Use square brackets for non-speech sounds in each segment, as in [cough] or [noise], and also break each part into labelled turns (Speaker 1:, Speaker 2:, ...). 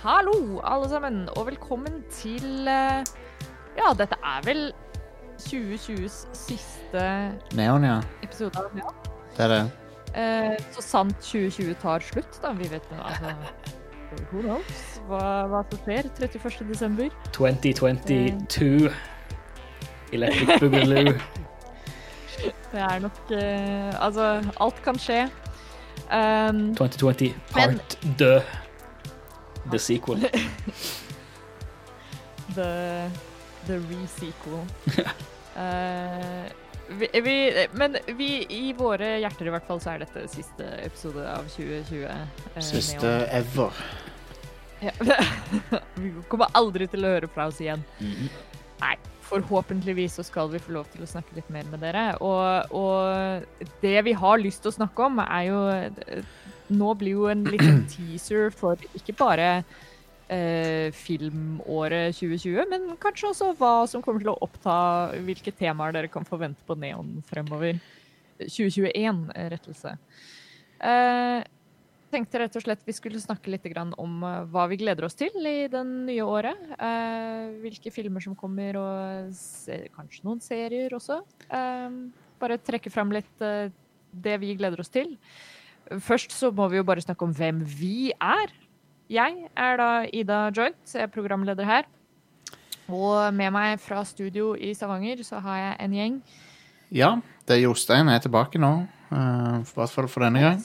Speaker 1: Hallo, alle sammen, og velkommen til eh, Ja, dette er vel 2020s siste
Speaker 2: Neon, ja.
Speaker 1: episode av ja.
Speaker 2: Det er det.
Speaker 1: Eh, Så sant 2020 tar slutt, da. Vi vet jo altså [laughs] Who knows hva, hva som skjer 31. desember.
Speaker 3: 2022. Electric
Speaker 1: [laughs]
Speaker 3: Boogaloo.
Speaker 1: Det er nok eh, Altså, alt kan skje. Um,
Speaker 3: 2020
Speaker 1: Men-
Speaker 3: part død. The sequel.
Speaker 1: The, the Re-sequel. Eh, vi, vi, men vi, i våre hjerter i hvert fall, så er dette siste episode av 2020. eh,
Speaker 2: Siste
Speaker 1: Neon.
Speaker 2: ever.
Speaker 1: Ja. [laughs] vi kommer aldri til å høre fra oss igjen.
Speaker 2: Mhm.
Speaker 1: Nei, forhåpentligvis så skal vi få lov til å snakke litt mer med dere. Og, og det vi har lyst til å snakke om, er jo Nå blir jo en liten teaser for ikke bare eh, filmåret 2020, men kanskje også hva som kommer til å oppta hvilke temaer dere kan forvente på Neon fremover. 2021, eh, rettelse. Eh, tenkte rett og slett vi skulle snakke litt grann om eh, hva vi gleder oss til i det nye året. Eh, hvilke filmer som kommer, og se, kanskje noen serier også. Eh, bare trekke fram litt eh, det vi gleder oss til. Først så må vi jo bare snakke om hvem vi er. Jeg er da Ida Joint, jeg er programleder her. Og med meg fra studio i Stavanger så har jeg en gjeng.
Speaker 2: Ja, det er Jostein. Jeg er tilbake nå. eh, I hvert fall for denne gang.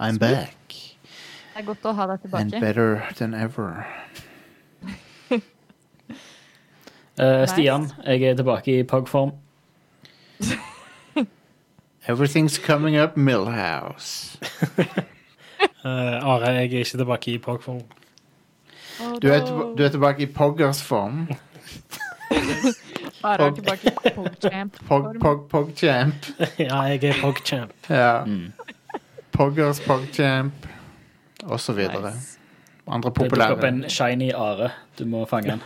Speaker 2: I'm back.
Speaker 1: Det er godt å ha deg
Speaker 2: And
Speaker 1: tilbake.
Speaker 2: better than ever.
Speaker 3: Eh, Stian, jeg er tilbake i pugform.
Speaker 2: Everything's coming up, Millhouse.
Speaker 4: Eh, Are, jeg er ikke tilbake i
Speaker 3: [laughs]
Speaker 4: pogform.
Speaker 1: Og
Speaker 2: Du er,
Speaker 1: da-
Speaker 2: tilba- du er tilbake i Poggers form.
Speaker 1: Bare
Speaker 2: Pog.
Speaker 1: tilbake til Pogchamp.
Speaker 2: Pog, pog, Pogchamp.
Speaker 4: ja, jeg er [laughs] pogchamp.
Speaker 2: Ja. Poggers, Pogchamp, og så videre.
Speaker 1: Nice.
Speaker 2: Andre
Speaker 3: Det dukker opp
Speaker 2: populære.
Speaker 3: en shiny are. Du må
Speaker 4: [laughs]
Speaker 3: fange den.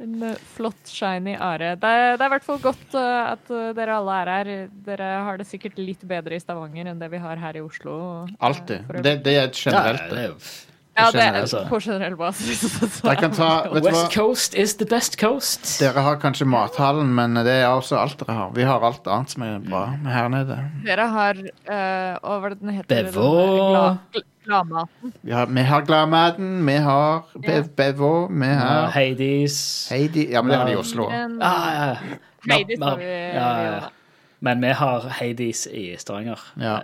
Speaker 1: En eh, flott, shiny are. Det, er- det er i hvert fall godt eh, at eh, dere alle er her. Dere har det sikkert litt bedre i Stavanger enn det vi har her i Oslo. og, eh,
Speaker 2: Alltid.
Speaker 1: for øvrig.
Speaker 2: Det, det er et generelt.
Speaker 3: Ja, det er jo-
Speaker 1: ja, det er
Speaker 3: generelt, altså.
Speaker 1: på generell basis. så
Speaker 2: Dere kan ta, vet du hva?
Speaker 3: West Coast is the best coast.
Speaker 2: Dere har kanskje mathallen, men det er også alt dere har. Vi har alt annet som er bra her nede.
Speaker 1: [laughs] Dere har eh, Å, hva er det den heter? Den der
Speaker 3: Bevå.
Speaker 1: gla- gl- Gladmaten.
Speaker 2: Vi har, vi har Gladmaten, vi har Be
Speaker 1: Ja.
Speaker 2: Bevo, vi
Speaker 3: Uh,
Speaker 2: har
Speaker 3: Hades.
Speaker 2: Heidi Ja, men det har de i Oslo.
Speaker 1: Men-
Speaker 3: Ah, ja, ja.
Speaker 1: Nei, det tar vi-
Speaker 3: Ja, ja, ja. Men vi har Hades i Stavanger.
Speaker 2: Ja.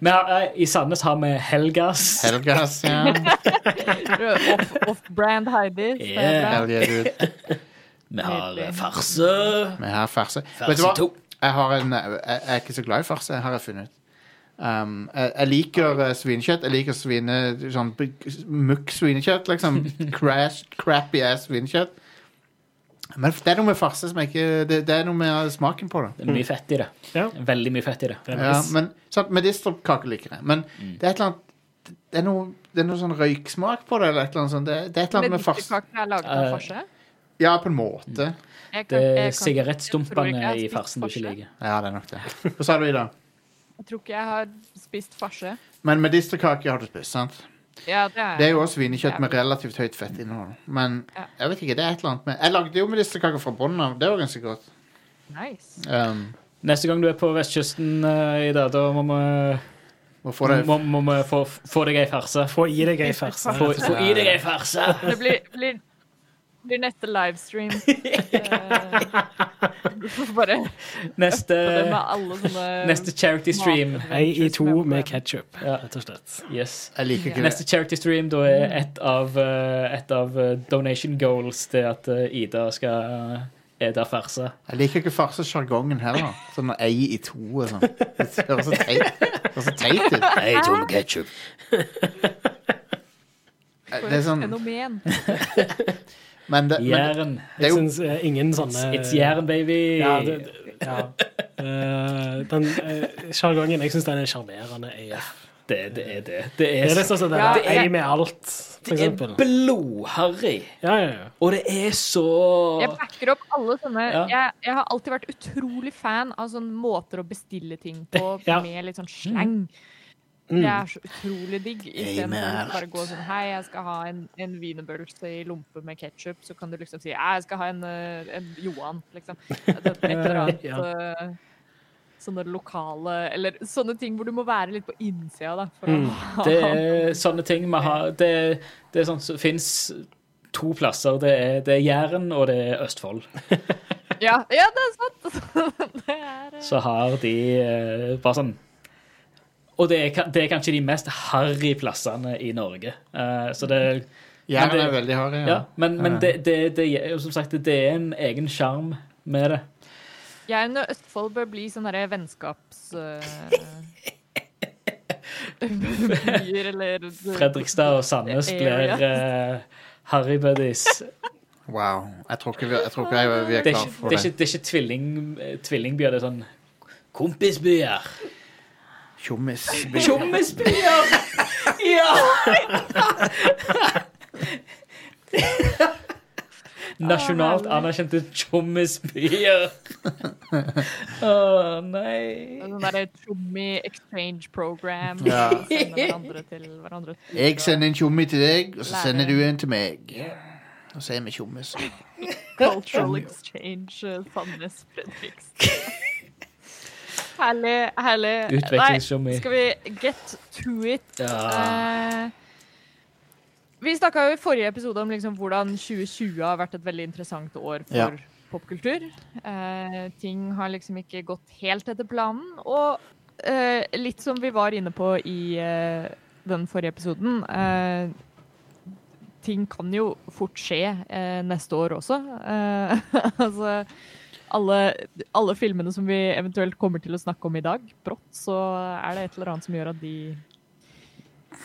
Speaker 3: Vi har, eh, I Sandnes har vi Helgas.
Speaker 2: Helgas, ja.
Speaker 1: Off- Off-brand Heidi. så det er
Speaker 3: Yeah.
Speaker 1: bra.
Speaker 2: Hell yeah, dude.
Speaker 3: vi har eh,
Speaker 1: Nydelig.
Speaker 3: Farsø.
Speaker 2: Vi har farse. Vet du
Speaker 3: Farse
Speaker 2: hva?
Speaker 3: to.
Speaker 2: Jeg, har en, jeg, jeg er ikke så glad i farse, har jeg funnet ut. Um, jeg, jeg liker eh, svinekjøtt. Jeg liker svine, sånn big- mukk svinekjøtt, liksom.
Speaker 3: [laughs]
Speaker 2: Crash, crappy ass svinekjøtt. Men det er noe med farse som jeg ikke Det, det er noe med smaken på det.
Speaker 3: Det er mye fett i det.
Speaker 4: Ja.
Speaker 3: Veldig mye fett i det.
Speaker 4: Det er
Speaker 2: Ja,
Speaker 4: nice.
Speaker 2: men sant, Medisterkake liker jeg. Men
Speaker 3: Mm.
Speaker 2: det er et eller annet Det er noe, det er noe sånn røyksmak på det, eller et eller annet sånt. Det, det er et eller annet med fars...
Speaker 1: Medisterkaken er laget av
Speaker 3: Eh,
Speaker 1: farse?
Speaker 2: Ja, på en måte.
Speaker 3: Mm.
Speaker 1: Jeg
Speaker 3: Det
Speaker 1: kan- jeg kan- jeg
Speaker 3: er
Speaker 1: tror ikke jeg
Speaker 3: sigarettstumpene
Speaker 1: har
Speaker 3: i
Speaker 1: spist
Speaker 3: farsen du
Speaker 1: farse.
Speaker 3: ikke liker.
Speaker 2: Ja, det er nok det. Hva sa du, Ida?
Speaker 1: Jeg tror ikke jeg har spist farse.
Speaker 2: Men medisterkake har du spist, sant?
Speaker 1: Ja, det er
Speaker 2: Det er jo også svinekjøtt med relativt høyt fettinnhold. Men
Speaker 1: Ja.
Speaker 2: jeg vet ikke, det er et eller annet med Jeg lagde jo medisterkake fra bunnen av. Det var ganske godt.
Speaker 1: Nice.
Speaker 2: Um,
Speaker 3: Neste gang du er på vestkysten, eh, Ida, da må vi,
Speaker 2: og får det
Speaker 3: må, må vi få, få deg ei farse.
Speaker 4: Få i deg ei farse.
Speaker 3: Få, få i deg ei farse!
Speaker 1: Det blir, blir, blir neste
Speaker 2: [laughs]
Speaker 1: livestream. Eh, Du får bare
Speaker 3: Neste,
Speaker 1: ta det med alle sånne
Speaker 3: neste charity stream.
Speaker 4: Ei i to med ketchup,
Speaker 3: Ja.
Speaker 4: rett og slett.
Speaker 3: Yes.
Speaker 2: Jeg liker ikke det.
Speaker 3: Neste charity stream da er et av, eh, et av eh, donation goals det at eh, Ida skal eh, ete farse.
Speaker 2: Jeg liker ikke farsesjargongen heller. Sånn ei i to og sånn. Det høres så teit- det høres så teit ut.
Speaker 1: [laughs]
Speaker 3: Ei tom ketsjup.
Speaker 2: Det er sånn
Speaker 1: fenomen.
Speaker 2: Men det, men,
Speaker 3: Jæren.
Speaker 2: Det er
Speaker 4: Jeg
Speaker 2: jo-
Speaker 4: syns eh, ingen sånne
Speaker 3: It's jæren, baby.
Speaker 4: Ja, det, det- ja. Eh, den eh, sjargongen, jeg syns den er sjarmerende AF.
Speaker 3: Det, det er det. Det
Speaker 4: Det
Speaker 3: er,
Speaker 4: er liksom sånn
Speaker 1: Ja,
Speaker 4: der,
Speaker 1: jeg-
Speaker 4: ei med alt, for
Speaker 3: det er
Speaker 4: eksempel.
Speaker 3: blodharry.
Speaker 4: Ja, ja, ja.
Speaker 3: Og det er så
Speaker 1: Jeg backer opp alle sånne
Speaker 3: Ja.
Speaker 1: jeg, jeg har alltid vært utrolig fan av sånne måter å bestille ting på
Speaker 4: [laughs] Ja. Mm.
Speaker 1: med litt sånn sleng. Det er så utrolig digg. Istedenfor å
Speaker 2: Amen.
Speaker 1: bare gå sånn Hei, jeg skal ha en, en wienerpølse i lompe med ketsjup. Så kan du liksom si «Ja, Jeg skal ha en, eh, en Johan, liksom. At det
Speaker 4: [laughs]
Speaker 1: er Et eller annet
Speaker 4: Ja.
Speaker 1: eh, Sånne lokale Eller sånne ting hvor du må være litt på innsida, da. For
Speaker 4: Mm.
Speaker 1: å ha
Speaker 3: Det er sånne ting vi har Det, det er sånt som fins to plasser. Det er, det er Jæren og det er Østfold.
Speaker 1: [laughs] ja, ja, det er sant! [laughs] det er eh,
Speaker 3: Så har de eh, bare sånn Og det er, ka- det er kanskje de mest harry plassene i Norge. Eh, så det
Speaker 2: Jæren
Speaker 3: Men
Speaker 2: er
Speaker 3: det-
Speaker 2: veldig hard, ja.
Speaker 3: Ja, men, men det, det, det, er jo som sagt, det er en egen sjarm med det.
Speaker 1: Jeg og Østfold bør bli sånne der vennskaps...
Speaker 3: [laughs]
Speaker 1: eh, byer, eller sånn.
Speaker 3: Fredrikstad og Sandnes blir eh, Harry
Speaker 1: [laughs]
Speaker 3: Buddies.
Speaker 2: Wow. Jeg tror ikke vi, jeg tror ikke jeg, vi er
Speaker 3: Det er
Speaker 2: klar
Speaker 3: ikke,
Speaker 2: for
Speaker 3: det
Speaker 2: det.
Speaker 3: er ikke, det er ikke tvilling, eh, tvillingbyer, det er sånn Kompisbyer.
Speaker 2: Tjommis.
Speaker 3: Tjommisbyer! [laughs]
Speaker 1: [laughs]
Speaker 3: Ja!
Speaker 1: Ah,
Speaker 3: Nasjonalt anerkjente tjommisbyer. Å nei.
Speaker 1: Sånn derre Tjommi exchange program.
Speaker 2: Ja.
Speaker 1: og Sende hverandre til hverandre.
Speaker 2: Jeg sender en tjommi til deg, og så
Speaker 1: Lære.
Speaker 2: sender du en til meg. Og så er vi tjommis.
Speaker 1: Cultural exchange eh, Sandnes Fredrikstad. Herlig, herlig. Nei,
Speaker 3: Utvekslingstjommi.
Speaker 1: skal vi get to it?
Speaker 3: Ja.
Speaker 1: Eh, vi snakka jo i forrige episode om liksom hvordan 2020 har vært et veldig interessant år for
Speaker 2: Ja.
Speaker 1: popkultur. Eh, ting har liksom ikke gått helt etter planen. Og eh, litt som vi var inne på i eh, den forrige episoden eh, Ting kan jo fort skje eh, neste år også. Eh, [laughs] altså alle, alle filmene som vi eventuelt kommer til å snakke om i dag, brått, så er det et eller annet som gjør at de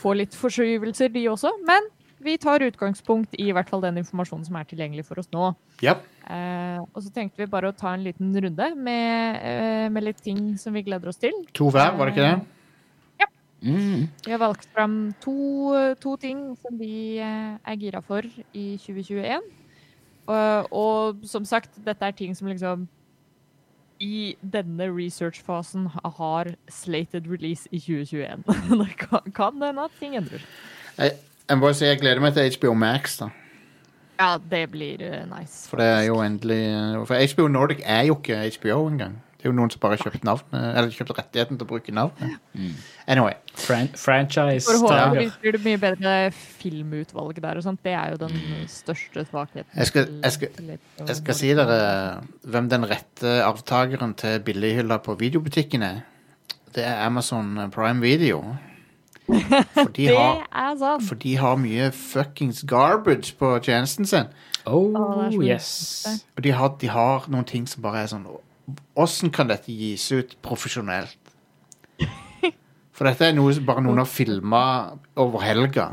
Speaker 1: får litt forskyvelser, de også. Men vi tar utgangspunkt i i hvert fall den informasjonen som er tilgjengelig for oss nå.
Speaker 2: Ja.
Speaker 1: Eh, og så tenkte vi bare å ta en liten runde med, eh, med litt ting som vi gleder oss til.
Speaker 2: To hver, var det ikke det?
Speaker 1: Vi har valgt fram to, to ting som vi eh, er gira for i 2021. Og, og som sagt, dette er ting som liksom i denne researchfasen har slated release i 2021. [laughs] Det kan, kan hende at ting endrer.
Speaker 2: Jeg, jeg må bare si jeg gleder meg til HBO Max, da.
Speaker 1: Ja, det blir eh, nice.
Speaker 2: For det er jo endelig eh, For HBO Nordic er jo ikke HBO engang. Det er jo noen som bare har kjøpt navnet, eller kjøpt rettigheten til å bruke navnet.
Speaker 3: Mm.
Speaker 2: Anyway.
Speaker 3: Fran franchise-taker.
Speaker 1: Forhåpentligvis blir det mye bedre filmutvalg der og sånt. Det er jo den største svakheten.
Speaker 2: Jeg skal-
Speaker 1: til-
Speaker 2: jeg skal-
Speaker 1: til et-
Speaker 2: Jeg skal si dere hvem den rette arvtakeren til billighylla på videobutikken er. Det er Amazon Prime Video. For de
Speaker 1: Det
Speaker 2: har,
Speaker 1: er sant.
Speaker 2: for de har mye fuckings garbage på tjenesten sin.
Speaker 3: Oh,
Speaker 1: Å, Ah, det er så
Speaker 3: yes.
Speaker 2: Og de har, de har noen ting som bare er sånn Åssen kan dette gis ut
Speaker 1: [laughs]
Speaker 2: profesjonelt? For dette er noe som bare noen har filma over helga.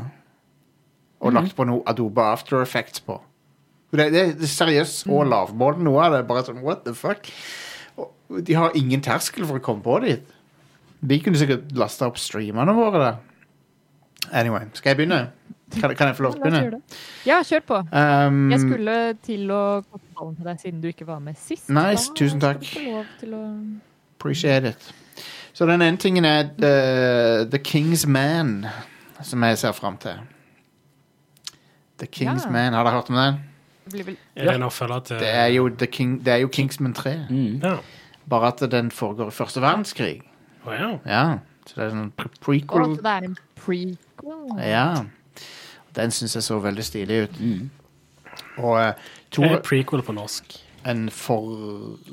Speaker 2: Og
Speaker 1: Mhm.
Speaker 2: lagt på noe Adobe After Effects på. Og Det, det, det er seriøst så
Speaker 1: Mhm.
Speaker 2: lavmål. Noe av det er bare sånn what the fuck? Og de har ingen terskel for å komme på dit. De kunne sikkert lasta opp streamene våre der. Anyway, skal jeg begynne? Kan, kan jeg få lov til å
Speaker 1: La oss gjøre
Speaker 2: begynne?
Speaker 1: det. Ja, kjør på.
Speaker 2: Um,
Speaker 1: Jeg skulle til å kaste ballen til deg siden du ikke var med sist.
Speaker 2: Nice,
Speaker 1: Da
Speaker 2: tusen takk.
Speaker 1: Skal du få lov til å...
Speaker 2: Appreciate it. Så den ene tingen er The, the King's Man, som jeg ser fram til. The King's
Speaker 1: Ja.
Speaker 2: Man, har dere hørt om den?
Speaker 1: Det blir vel...
Speaker 4: Er det en oppfølger til
Speaker 2: Det er jo, the King, det er jo Kingsman 3,
Speaker 4: eh,
Speaker 3: Mm.
Speaker 4: Ja.
Speaker 2: bare at den foregår i første verdenskrig.
Speaker 4: Å, ja.
Speaker 2: Ja, så det er sånn pre
Speaker 1: Å,
Speaker 2: prequel.
Speaker 1: så det er en prequel.
Speaker 2: Ja. Den syns jeg så veldig stilig ut.
Speaker 3: Mm.
Speaker 2: Og eh, to,
Speaker 4: Hva er prequel på norsk?
Speaker 2: en for...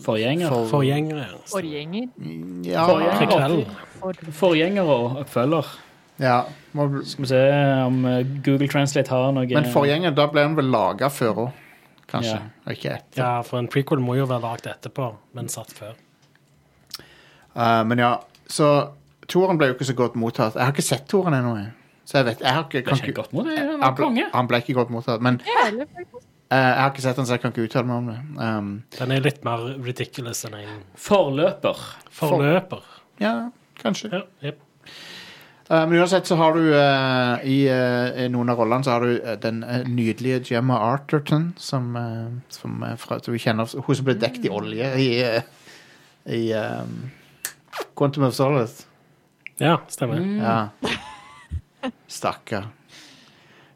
Speaker 3: Forgjenger.
Speaker 2: for-
Speaker 4: Forgjengere. ja.
Speaker 1: Forgjenger.
Speaker 2: Ja,
Speaker 3: Forgjenger.
Speaker 4: Prequel.
Speaker 1: For...
Speaker 3: Forgjenger og oppfølger.
Speaker 2: ja. må-
Speaker 3: Skal vi se om eh, Google Translate har noe
Speaker 2: Men forgjenger, da ble den vel laga før òg, kanskje.
Speaker 3: Ja.
Speaker 2: Og ikke etter.
Speaker 4: Ja, for en prequel må jo være lagd etterpå, men satt før.
Speaker 2: Eh, men ja, så Toren ble jo ikke så godt mottatt. Jeg har ikke sett Toren ennå. jeg. Så jeg vet, jeg har ikke,
Speaker 3: Det
Speaker 2: kan
Speaker 3: er ikke
Speaker 2: ikke
Speaker 3: godt mot det. Han
Speaker 2: han
Speaker 3: var
Speaker 2: ble,
Speaker 3: konge.
Speaker 2: han ble ikke godt mottatt, men eh,
Speaker 1: Eller prequel.
Speaker 2: jeg har ikke sett den, så jeg kan ikke uttale meg om det. Um,
Speaker 4: Den er litt mer ridiculous enn en
Speaker 3: Forløper.
Speaker 4: forløper.
Speaker 2: ja, kanskje.
Speaker 4: Ja, jep.
Speaker 2: Eh, men uansett så har du eh, i, eh, i noen av rollene så har du eh, den eh, nydelige Gemma Arterton, som, eh, som er fra, som vi kjenner Hun som ble dekt i olje i, eh, i eh, Quantum of Solace.
Speaker 4: Ja, stemmer.
Speaker 1: Mm.
Speaker 2: Ja. Stakkar.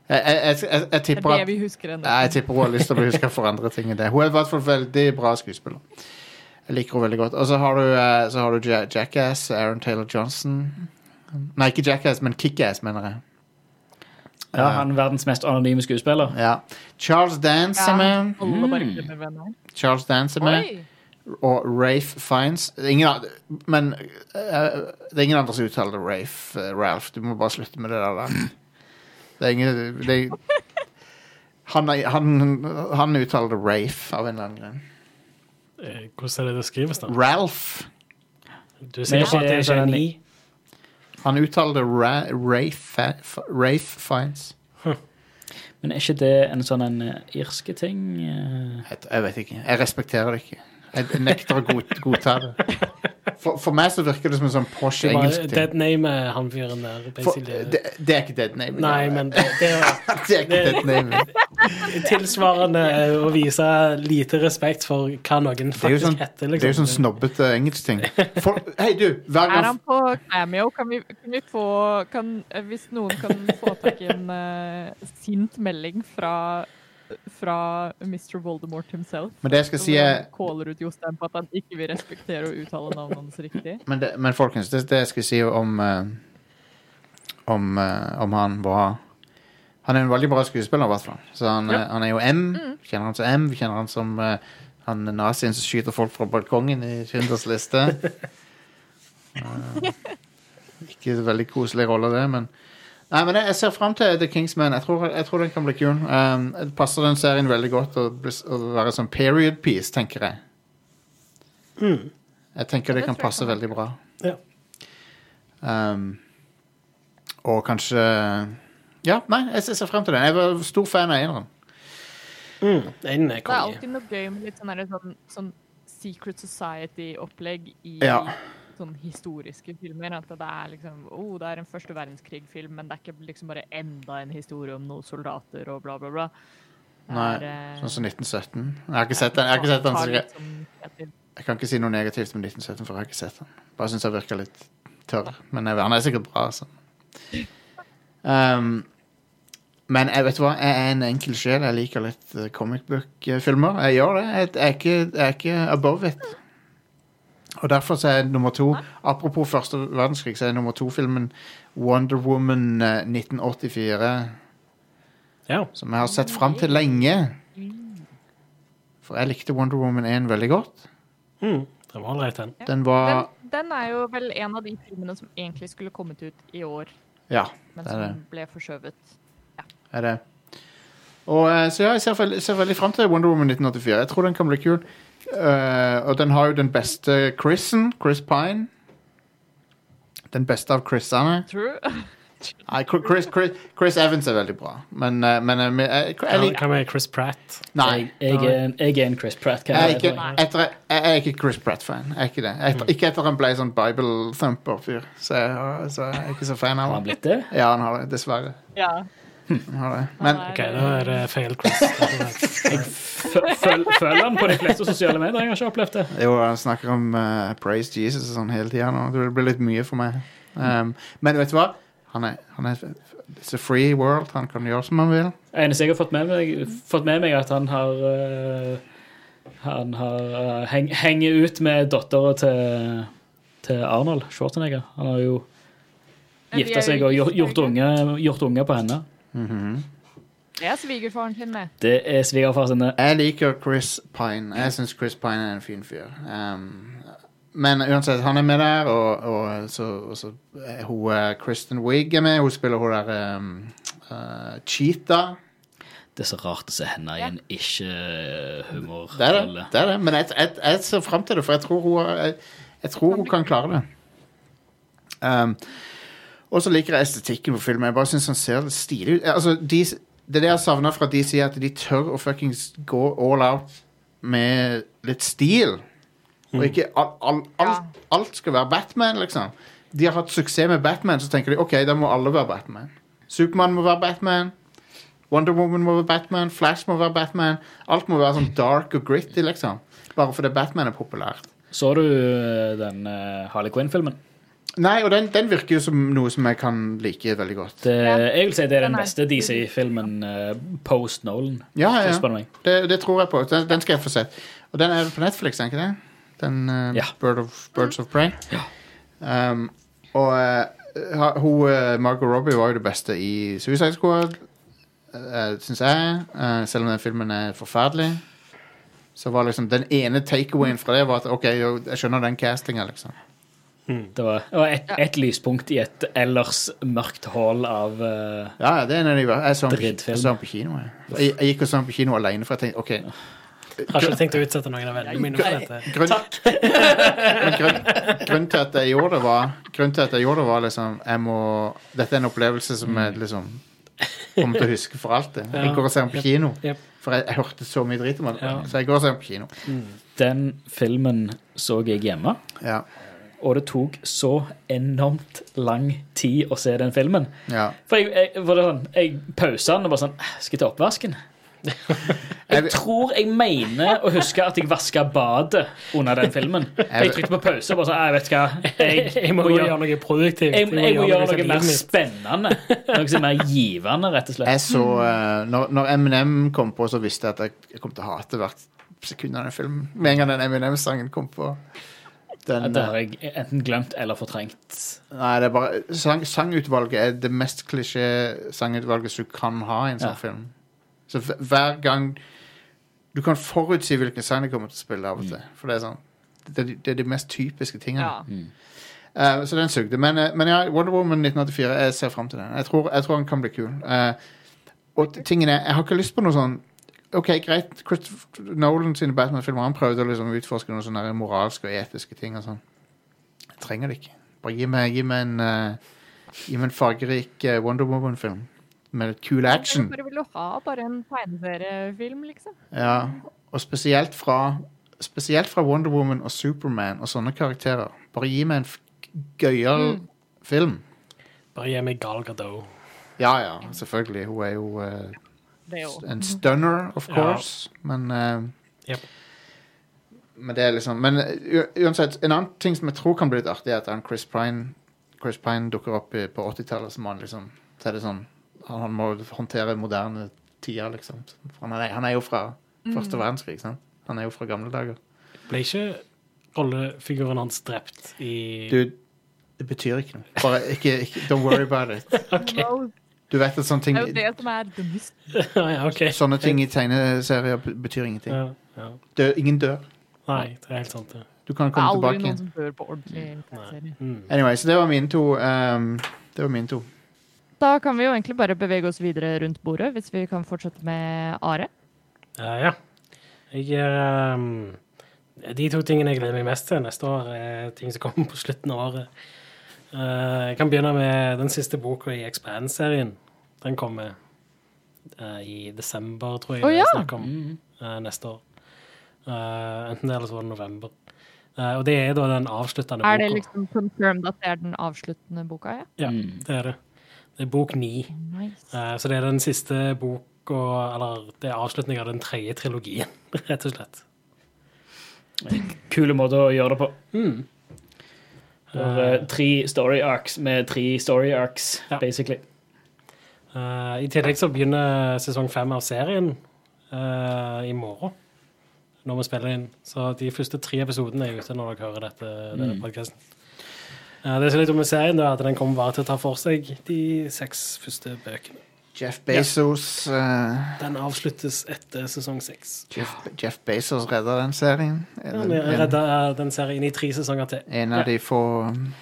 Speaker 2: Jeg, jeg, jeg, jeg, jeg
Speaker 1: Det
Speaker 2: tipper
Speaker 1: er det
Speaker 2: at
Speaker 1: vi husker ennå.
Speaker 2: Nei, jeg tipper hun har lyst til å bli huska for andre ting enn det. Hun er i hvert fall veldig bra skuespiller. Jeg liker henne veldig godt. Og så har du, eh, så har du Ja- Jackass, Aaron Taylor Johnson. Nei, ikke Jackass, men Kickass, mener jeg.
Speaker 3: Ja, han er verdens mest anonyme skuespiller.
Speaker 2: Ja. Charles Dance er med.
Speaker 1: Alle bare glemmer hvem det er.
Speaker 2: Charles Dance er med.
Speaker 1: Oi!
Speaker 2: Og Rafe Fiends Det er ingen, an- Men eh, det er ingen andre som uttaler det Rafe. eh, Ralph, du må bare slutte med det der. da. Det er ingen det er, han, er- han, han uttaler det Rafe av en eller annen grunn.
Speaker 4: Eh, Hvordan er det det skrives, da?
Speaker 2: Ralph.
Speaker 4: Du er sikker på at det ikke er en i?
Speaker 2: Han uttaler det Ra Rafe, Rafe Fiends.
Speaker 3: Men er ikke det en sånn en eh, irske ting? eh?
Speaker 2: Jeg, jeg vet ikke. Jeg respekterer det ikke. Jeg nekter å god, godta det. For, for meg så virker det som en sånn posh
Speaker 4: Det var
Speaker 2: engelsk ting.
Speaker 4: dead name, eh, han fyren der.
Speaker 2: For, eh,
Speaker 4: basically.
Speaker 2: det, det er ikke dead name.
Speaker 4: Nei, men det, det er jo
Speaker 2: [laughs] Det er ikke dead name.
Speaker 4: tilsvarende eh, å vise lite respekt for hva noen
Speaker 2: Det er jo
Speaker 4: faktisk
Speaker 2: sånn, det er
Speaker 4: heter.
Speaker 2: jo sånn
Speaker 4: Liksom.
Speaker 2: snobbete engelskting. For- Hei, du! Hver
Speaker 1: Er
Speaker 2: gang
Speaker 1: han på cameo? Kan vi, kan vi få kan, eh, Hvis noen kan få tak i en eh, sint melding fra, fra Mr. Voldemort himself
Speaker 2: Men det jeg skal si
Speaker 1: hvor
Speaker 2: eh, er
Speaker 1: han caller ut Jostein på at han ikke vil respektere og uttale navnet hans riktig.
Speaker 2: Men, det, men folkens, det, det jeg skal si om eh, om, eh, om han var Han er en veldig bra skuespiller, i hvert fall. Så han, eh, han er jo M.
Speaker 1: Mm.
Speaker 2: Vi kjenner han som M. Vi kjenner han som eh, han nazien som skyter folk fra balkongen i Schindlers liste.
Speaker 1: [laughs]
Speaker 2: Eh, ikke så veldig koselig rolle, det, men Nei, men jeg, jeg ser fram til The Kingsman. Jeg tror, jeg tror den kan bli kul. Um, det passer den serien veldig godt å, bli, å være sånn period piece, tenker jeg. Jeg tenker det,
Speaker 1: det tror
Speaker 2: kan
Speaker 1: jeg
Speaker 2: passe
Speaker 1: kan
Speaker 2: veldig bra.
Speaker 4: Ja.
Speaker 2: Um, og kanskje Ja, nei, jeg ser- ser frem til den. Jeg var stor fan av eneren.
Speaker 4: Mm, en er
Speaker 1: Det er
Speaker 4: konge.
Speaker 1: alltid noe gøy med litt sånn, der, sånn, sånn Secret Society-opplegg i
Speaker 2: Ja.
Speaker 1: sånn historiske filmer. At det er liksom oh, det er en første verdenskrig-film, men det er ikke liksom bare enda en historie om noen soldater og bla, bla, bla. Det
Speaker 2: Nei,
Speaker 1: er, eh,
Speaker 2: Sånn som 1917. Jeg har ikke sett den, jeg, har ikke sett den
Speaker 1: tar
Speaker 2: så jeg,
Speaker 1: litt sånn kreativ-
Speaker 2: jeg kan ikke si noe negativt om 1917, for jeg har ikke sett den. Bare syns han virker litt tørr. Men jeg, han er sikkert bra, altså. Um, men jeg vet du hva, jeg er en enkel sjel. Jeg liker litt eh, comic book-filmer. Jeg gjør det. Jeg jeg er ikke, jeg er ikke above it. Og derfor så er nummer to Apropos første verdenskrig, så er nummer to-filmen Wonder Woman eh, 1984.
Speaker 4: Ja.
Speaker 2: Som jeg har sett fram til lenge. For jeg likte Wonder Woman 1 veldig godt.
Speaker 4: Mm, den var ålreit, den.
Speaker 2: Den var
Speaker 1: Den, den er jo vel en av de filmene som egentlig skulle kommet ut i år,
Speaker 2: Ja,
Speaker 1: men
Speaker 2: Det er det.
Speaker 1: som ble forskjøvet.
Speaker 2: er det. Og, eh, så ja, jeg ser, veld- ser veldig fram til Wonder Woman 1984. Jeg tror den kan bli kul. Eh, og den har jo den beste Chrisen, Chris Pine. Den beste av Chrisene.
Speaker 1: True. [laughs]
Speaker 2: Nei, Chris, Chris, Chris, Chris Evans er veldig bra, men, eh, men eh, men, eh, jeg, jeg, liker-
Speaker 4: Hva med Chris Pratt?
Speaker 2: Nei.
Speaker 3: Jeg, jeg, er en, jeg er en Chris Pratt. hva
Speaker 2: Jeg er
Speaker 3: er det?
Speaker 2: ikke, etter, jeg jeg er ikke Chris Pratt-fan. Jeg er Ikke det. Etter, ikke etter han ble sånn Bible-thumper-fyr. Så, jeg- så jeg er ikke så fan av
Speaker 3: Har han
Speaker 2: han.
Speaker 3: blitt det?
Speaker 2: Ja, han har det. Dessverre.
Speaker 1: Ja.
Speaker 2: Han har det. Men
Speaker 1: han
Speaker 4: OK,
Speaker 1: er, eh,
Speaker 4: da er det feil Chris.
Speaker 3: Føl- føl- Følger han på de fleste sosiale medier? Jeg har ikke opplevd det.
Speaker 2: Jo, han snakker om eh, praise Jesus og sånn hele tida nå. Det blir litt mye for meg. Um, men vet du hva? Han er, han er It's a free world. Han kan gjøre som han vil.
Speaker 3: Eneste jeg har fått med meg, fått med meg er at han har eh, Han har eh, heng, henger ut med dattera til, til Arnold Schwarzenegger. Han har jo
Speaker 1: Men vi er
Speaker 3: gifta seg
Speaker 1: jo
Speaker 3: og gjort,
Speaker 1: gift,
Speaker 3: gjort,
Speaker 1: er vi
Speaker 3: unge, gjort unge på henne.
Speaker 1: det er svigerfaren sin, det.
Speaker 3: Det er svigerfar sine.
Speaker 2: Jeg liker Chris Pine. Jeg syns Chris Pine er en fin fyr. Um, men uansett, han er med der, og, og så, og så er hun eh, Kristen Wiig er med. Hun spiller hun der um, eh, Cheetah.
Speaker 3: Det er så rart å se henne i en eh, ikke-humor.
Speaker 2: Det er det. det, er det. Men jeg, jeg, jeg ser frem til det, for jeg tror hun, jeg, jeg tror hun kan klare det. Um, og så liker jeg estetikken på filmen. Jeg bare synes han ser stilig ut. Altså, de, det er det jeg savner fra DC, at de tør å fuckings gå all out med litt stil. Og ikke all, all, alt, alt skal være Batman, liksom. De har hatt suksess med Batman, så tenker de OK, da må alle være Batman. Supermann må være Batman. Wonder Woman må være Batman, Flash må være Batman. Alt må være sånn dark og gritty, liksom. Bare fordi Batman er populært.
Speaker 3: Så du eh, den eh, Harley Quinn-filmen?
Speaker 2: Nei, og den, den virker jo som noe som jeg kan like veldig godt.
Speaker 3: Det, jeg vil si det er
Speaker 1: Den
Speaker 3: den
Speaker 1: er-
Speaker 3: beste DC-filmen eh, post Nolan.
Speaker 2: Ja,
Speaker 3: hvis
Speaker 2: ja,
Speaker 3: du spør meg.
Speaker 2: Det, det tror jeg på. Den, den skal jeg få sett. Og den er på Netflix, er den ikke det? Den eh,
Speaker 3: Ja.
Speaker 2: Bird of, Birds of Prey. Um, og eh, ha- hun eh, Margot Robbie var jo det beste i Suicide Squad, uh, syns jeg. Eh, selv om den filmen er forferdelig. Så var liksom Den ene takeawayen fra det var at OK, jo, jeg skjønner den castinga, liksom.
Speaker 3: Det var, det var et, et lyspunkt i et ellers mørkt hull av eh,
Speaker 2: Ja, ja, det er en av de ver- Jeg så den på-
Speaker 3: Drittfilm.
Speaker 2: jeg så den på kino. Jeg. Jeg, jeg gikk og så den på kino alene, for jeg tenkte OK
Speaker 4: Jeg har ikke tenkt å utsette noen av vennene mine for dette.
Speaker 2: grunn, [laughs] men grunn, grunnen til at jeg gjorde det var Grunnen til at jeg gjorde det var liksom jeg må, Dette er en opplevelse som jeg liksom kommer til å huske for alltid. Jeg går og ser den på kino,
Speaker 4: Jep.
Speaker 2: for jeg, jeg hørte så mye drit om den.
Speaker 4: Ja.
Speaker 2: Så jeg går og ser den på kino.
Speaker 3: Den filmen så jeg hjemme,
Speaker 2: Ja,
Speaker 3: og det tok så enormt lang tid å se den filmen.
Speaker 2: ja.
Speaker 3: For jeg, jeg, for det er sånn, jeg pausa den og bare sånn Skal jeg ta oppvasken? Jeg tror jeg mener å huske at jeg vaska badet under den filmen. Jeg trykte på pause og bare sånn «Nei, vet du hva, jeg,
Speaker 4: [laughs] Jeg må gjøre noe produktivt.
Speaker 3: jeg, jeg må gjøre noe
Speaker 4: som
Speaker 3: mer
Speaker 4: livet mitt.
Speaker 3: spennende. Noe som er mer givende,
Speaker 2: [laughs]
Speaker 3: rett og slett.
Speaker 2: Jeg så eh, Når, når Eminem kom på, så visste jeg at jeg, jeg kom til å hate hvert sekund av den filmen. Med en gang den Eminem-sangen kom på. Den,
Speaker 3: Det har jeg enten glemt eller fortrengt.
Speaker 2: Nei, det er bare sang, Sangutvalget er det mest klisjé sangutvalget som du kan ha i en sånn
Speaker 3: Ja.
Speaker 2: film. Så hver- hver gang Du kan forutsi hvilken sang de kommer til å spille av og til. For det er sånn Det, er de- det er de mest typiske tingene.
Speaker 1: Ja.
Speaker 2: Eh, så den sugde. Men, eh, men ja, Wonder Woman 1984, jeg ser fram til den. Jeg tror, jeg tror den kan bli kul. Eh, og t- tingen er, jeg har ikke lyst på noe sånn OK, greit, Christopher Nolan sine Batman-filmer Han prøvde å liksom utforske noen sånne moralske og etiske ting og sånn. Jeg trenger det ikke. Bare gi meg, gi meg en eh, Gi meg en fargerik eh, Wonder Woman-film. Med litt kul action.
Speaker 1: Jeg bare ville ha bare en tegneseriefilm, liksom.
Speaker 2: Ja, og spesielt fra Spesielt fra Wonder Woman og Superman og sånne karakterer. Bare gi meg en f- gøyal film.
Speaker 4: Bare gi meg Gal Gadot.
Speaker 2: Ja, ja, selvfølgelig. Hun er jo eh,
Speaker 1: Det òg.
Speaker 2: en stunner, of
Speaker 4: Ja.
Speaker 2: course. Men eh,
Speaker 4: Jep.
Speaker 2: Men det er liksom Men eh, u- uansett, en annen ting som jeg tror kan bli litt artig, er at han Chris Pine Chris Pine dukker opp i, på 80-tallet som han liksom Så er det sånn Han, han må håndtere moderne tider, liksom. For Han er, han er jo fra første verdenskrig, ikke sant? Han er jo fra gamle dager.
Speaker 4: Ble ikke rollefiguren hans drept i
Speaker 2: Du, det betyr ikke noe. Bare ikke, ikke Don't worry about it.
Speaker 4: OK.
Speaker 2: Du vet at sånne
Speaker 1: Det [laughs]
Speaker 2: ting
Speaker 1: er jo det som er dummest.
Speaker 4: [laughs] ja, ok.
Speaker 2: Sånne ting i tegneserier be- betyr ingenting.
Speaker 4: Ja, ja.
Speaker 2: Dø, ingen dør.
Speaker 4: Nei, det er helt sant, det. Mm.
Speaker 2: Du
Speaker 1: Det
Speaker 2: kan
Speaker 1: er
Speaker 2: komme
Speaker 1: aldri
Speaker 2: tilbake
Speaker 1: noen
Speaker 2: igjen.
Speaker 1: som dør på ordentlig tegneserie.
Speaker 2: Anyway, så det var mine to. ehm, det var mine to.
Speaker 1: Da kan vi jo egentlig bare bevege oss videre rundt bordet, hvis vi kan fortsette med Are.
Speaker 4: Ja, ja. Jeg er, um, de to tingene jeg gleder meg mest til neste år, er ting som kommer på slutten av året. Uh, jeg kan begynne med den siste boka i Expand-serien. Den kommer uh, i desember, tror jeg.
Speaker 1: Å,
Speaker 4: det er
Speaker 1: ja.
Speaker 4: snakk om uh, neste år. Uh, enten det eller så var det november. Uh, og det er da den avsluttende
Speaker 1: Er
Speaker 4: boka.
Speaker 1: det liksom confirmed at det er den avsluttende boka? Ja?
Speaker 4: Ja, det er det. Det er bok ni.
Speaker 1: Nice.
Speaker 4: Eh, Så det er den siste boka, eller det er avslutningen av den tredje trilogien, [laughs] rett og slett.
Speaker 3: Kule måter å gjøre det på. Det var,
Speaker 4: Eh,
Speaker 3: eh, tre story arcs med tre story arcs,
Speaker 4: Ja.
Speaker 3: basically.
Speaker 4: eh, I tillegg så begynner sesong fem av serien eh, i morgen, når vi spiller inn. Så de første tre episodene er ute når dere hører dette, denne podcasten. Eh, det som er litt om med serien, da, er at den kommer bare til å ta for seg de seks første bøkene.
Speaker 2: Jeff Bezos eh,
Speaker 4: Den avsluttes etter sesong seks.
Speaker 2: Jeff, Jeff Bezos redder den serien.
Speaker 4: Den
Speaker 2: En, en,
Speaker 4: redder eh, den serien i tre sesonger til.
Speaker 2: en av de få ehm,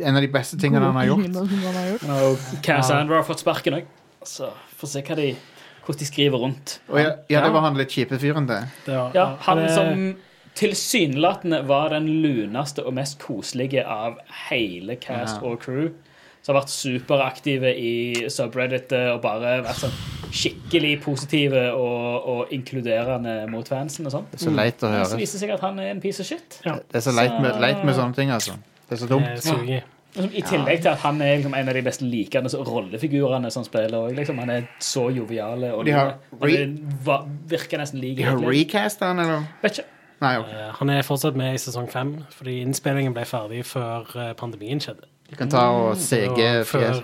Speaker 2: En av de beste tingene han har gjort.
Speaker 1: Noe som han har gjort.
Speaker 3: Og Cassandra har fått sparken òg. Så får vi se hva de, hvordan de skriver rundt.
Speaker 2: Og ja, ja, det var han litt kjipe fyren, det.
Speaker 4: Det var-
Speaker 3: Ja, han
Speaker 4: det-
Speaker 3: som tilsynelatende var den luneste og mest koselige av hele cast
Speaker 2: Ja.
Speaker 3: og crew. Som har vært superaktive i subreddit eh, og bare vært sånn skikkelig positive og, og inkluderende mot fansen og sånn.
Speaker 2: Det er så leit å
Speaker 3: Men så
Speaker 2: høre.
Speaker 3: viser det seg at han er en piece of shit.
Speaker 2: Det er så leit med, leit med sånne ting, altså. Det er så dumt.
Speaker 4: Det suger.
Speaker 3: Og som- I tillegg til at han er liksom en av de best likende rollefigurene som spiller òg. Liksom. Han er så jovial og
Speaker 2: De har
Speaker 3: han er, va- virker nesten lik.
Speaker 2: De har
Speaker 3: egentlig.
Speaker 2: recast han, eller?
Speaker 3: Vet ikke.
Speaker 2: Nei, ok.
Speaker 4: Eh, Han er fortsatt med i sesong fem, fordi innspillingen ble ferdig før eh, pandemien skjedde.
Speaker 2: De kan ta og CG
Speaker 4: Og før eh,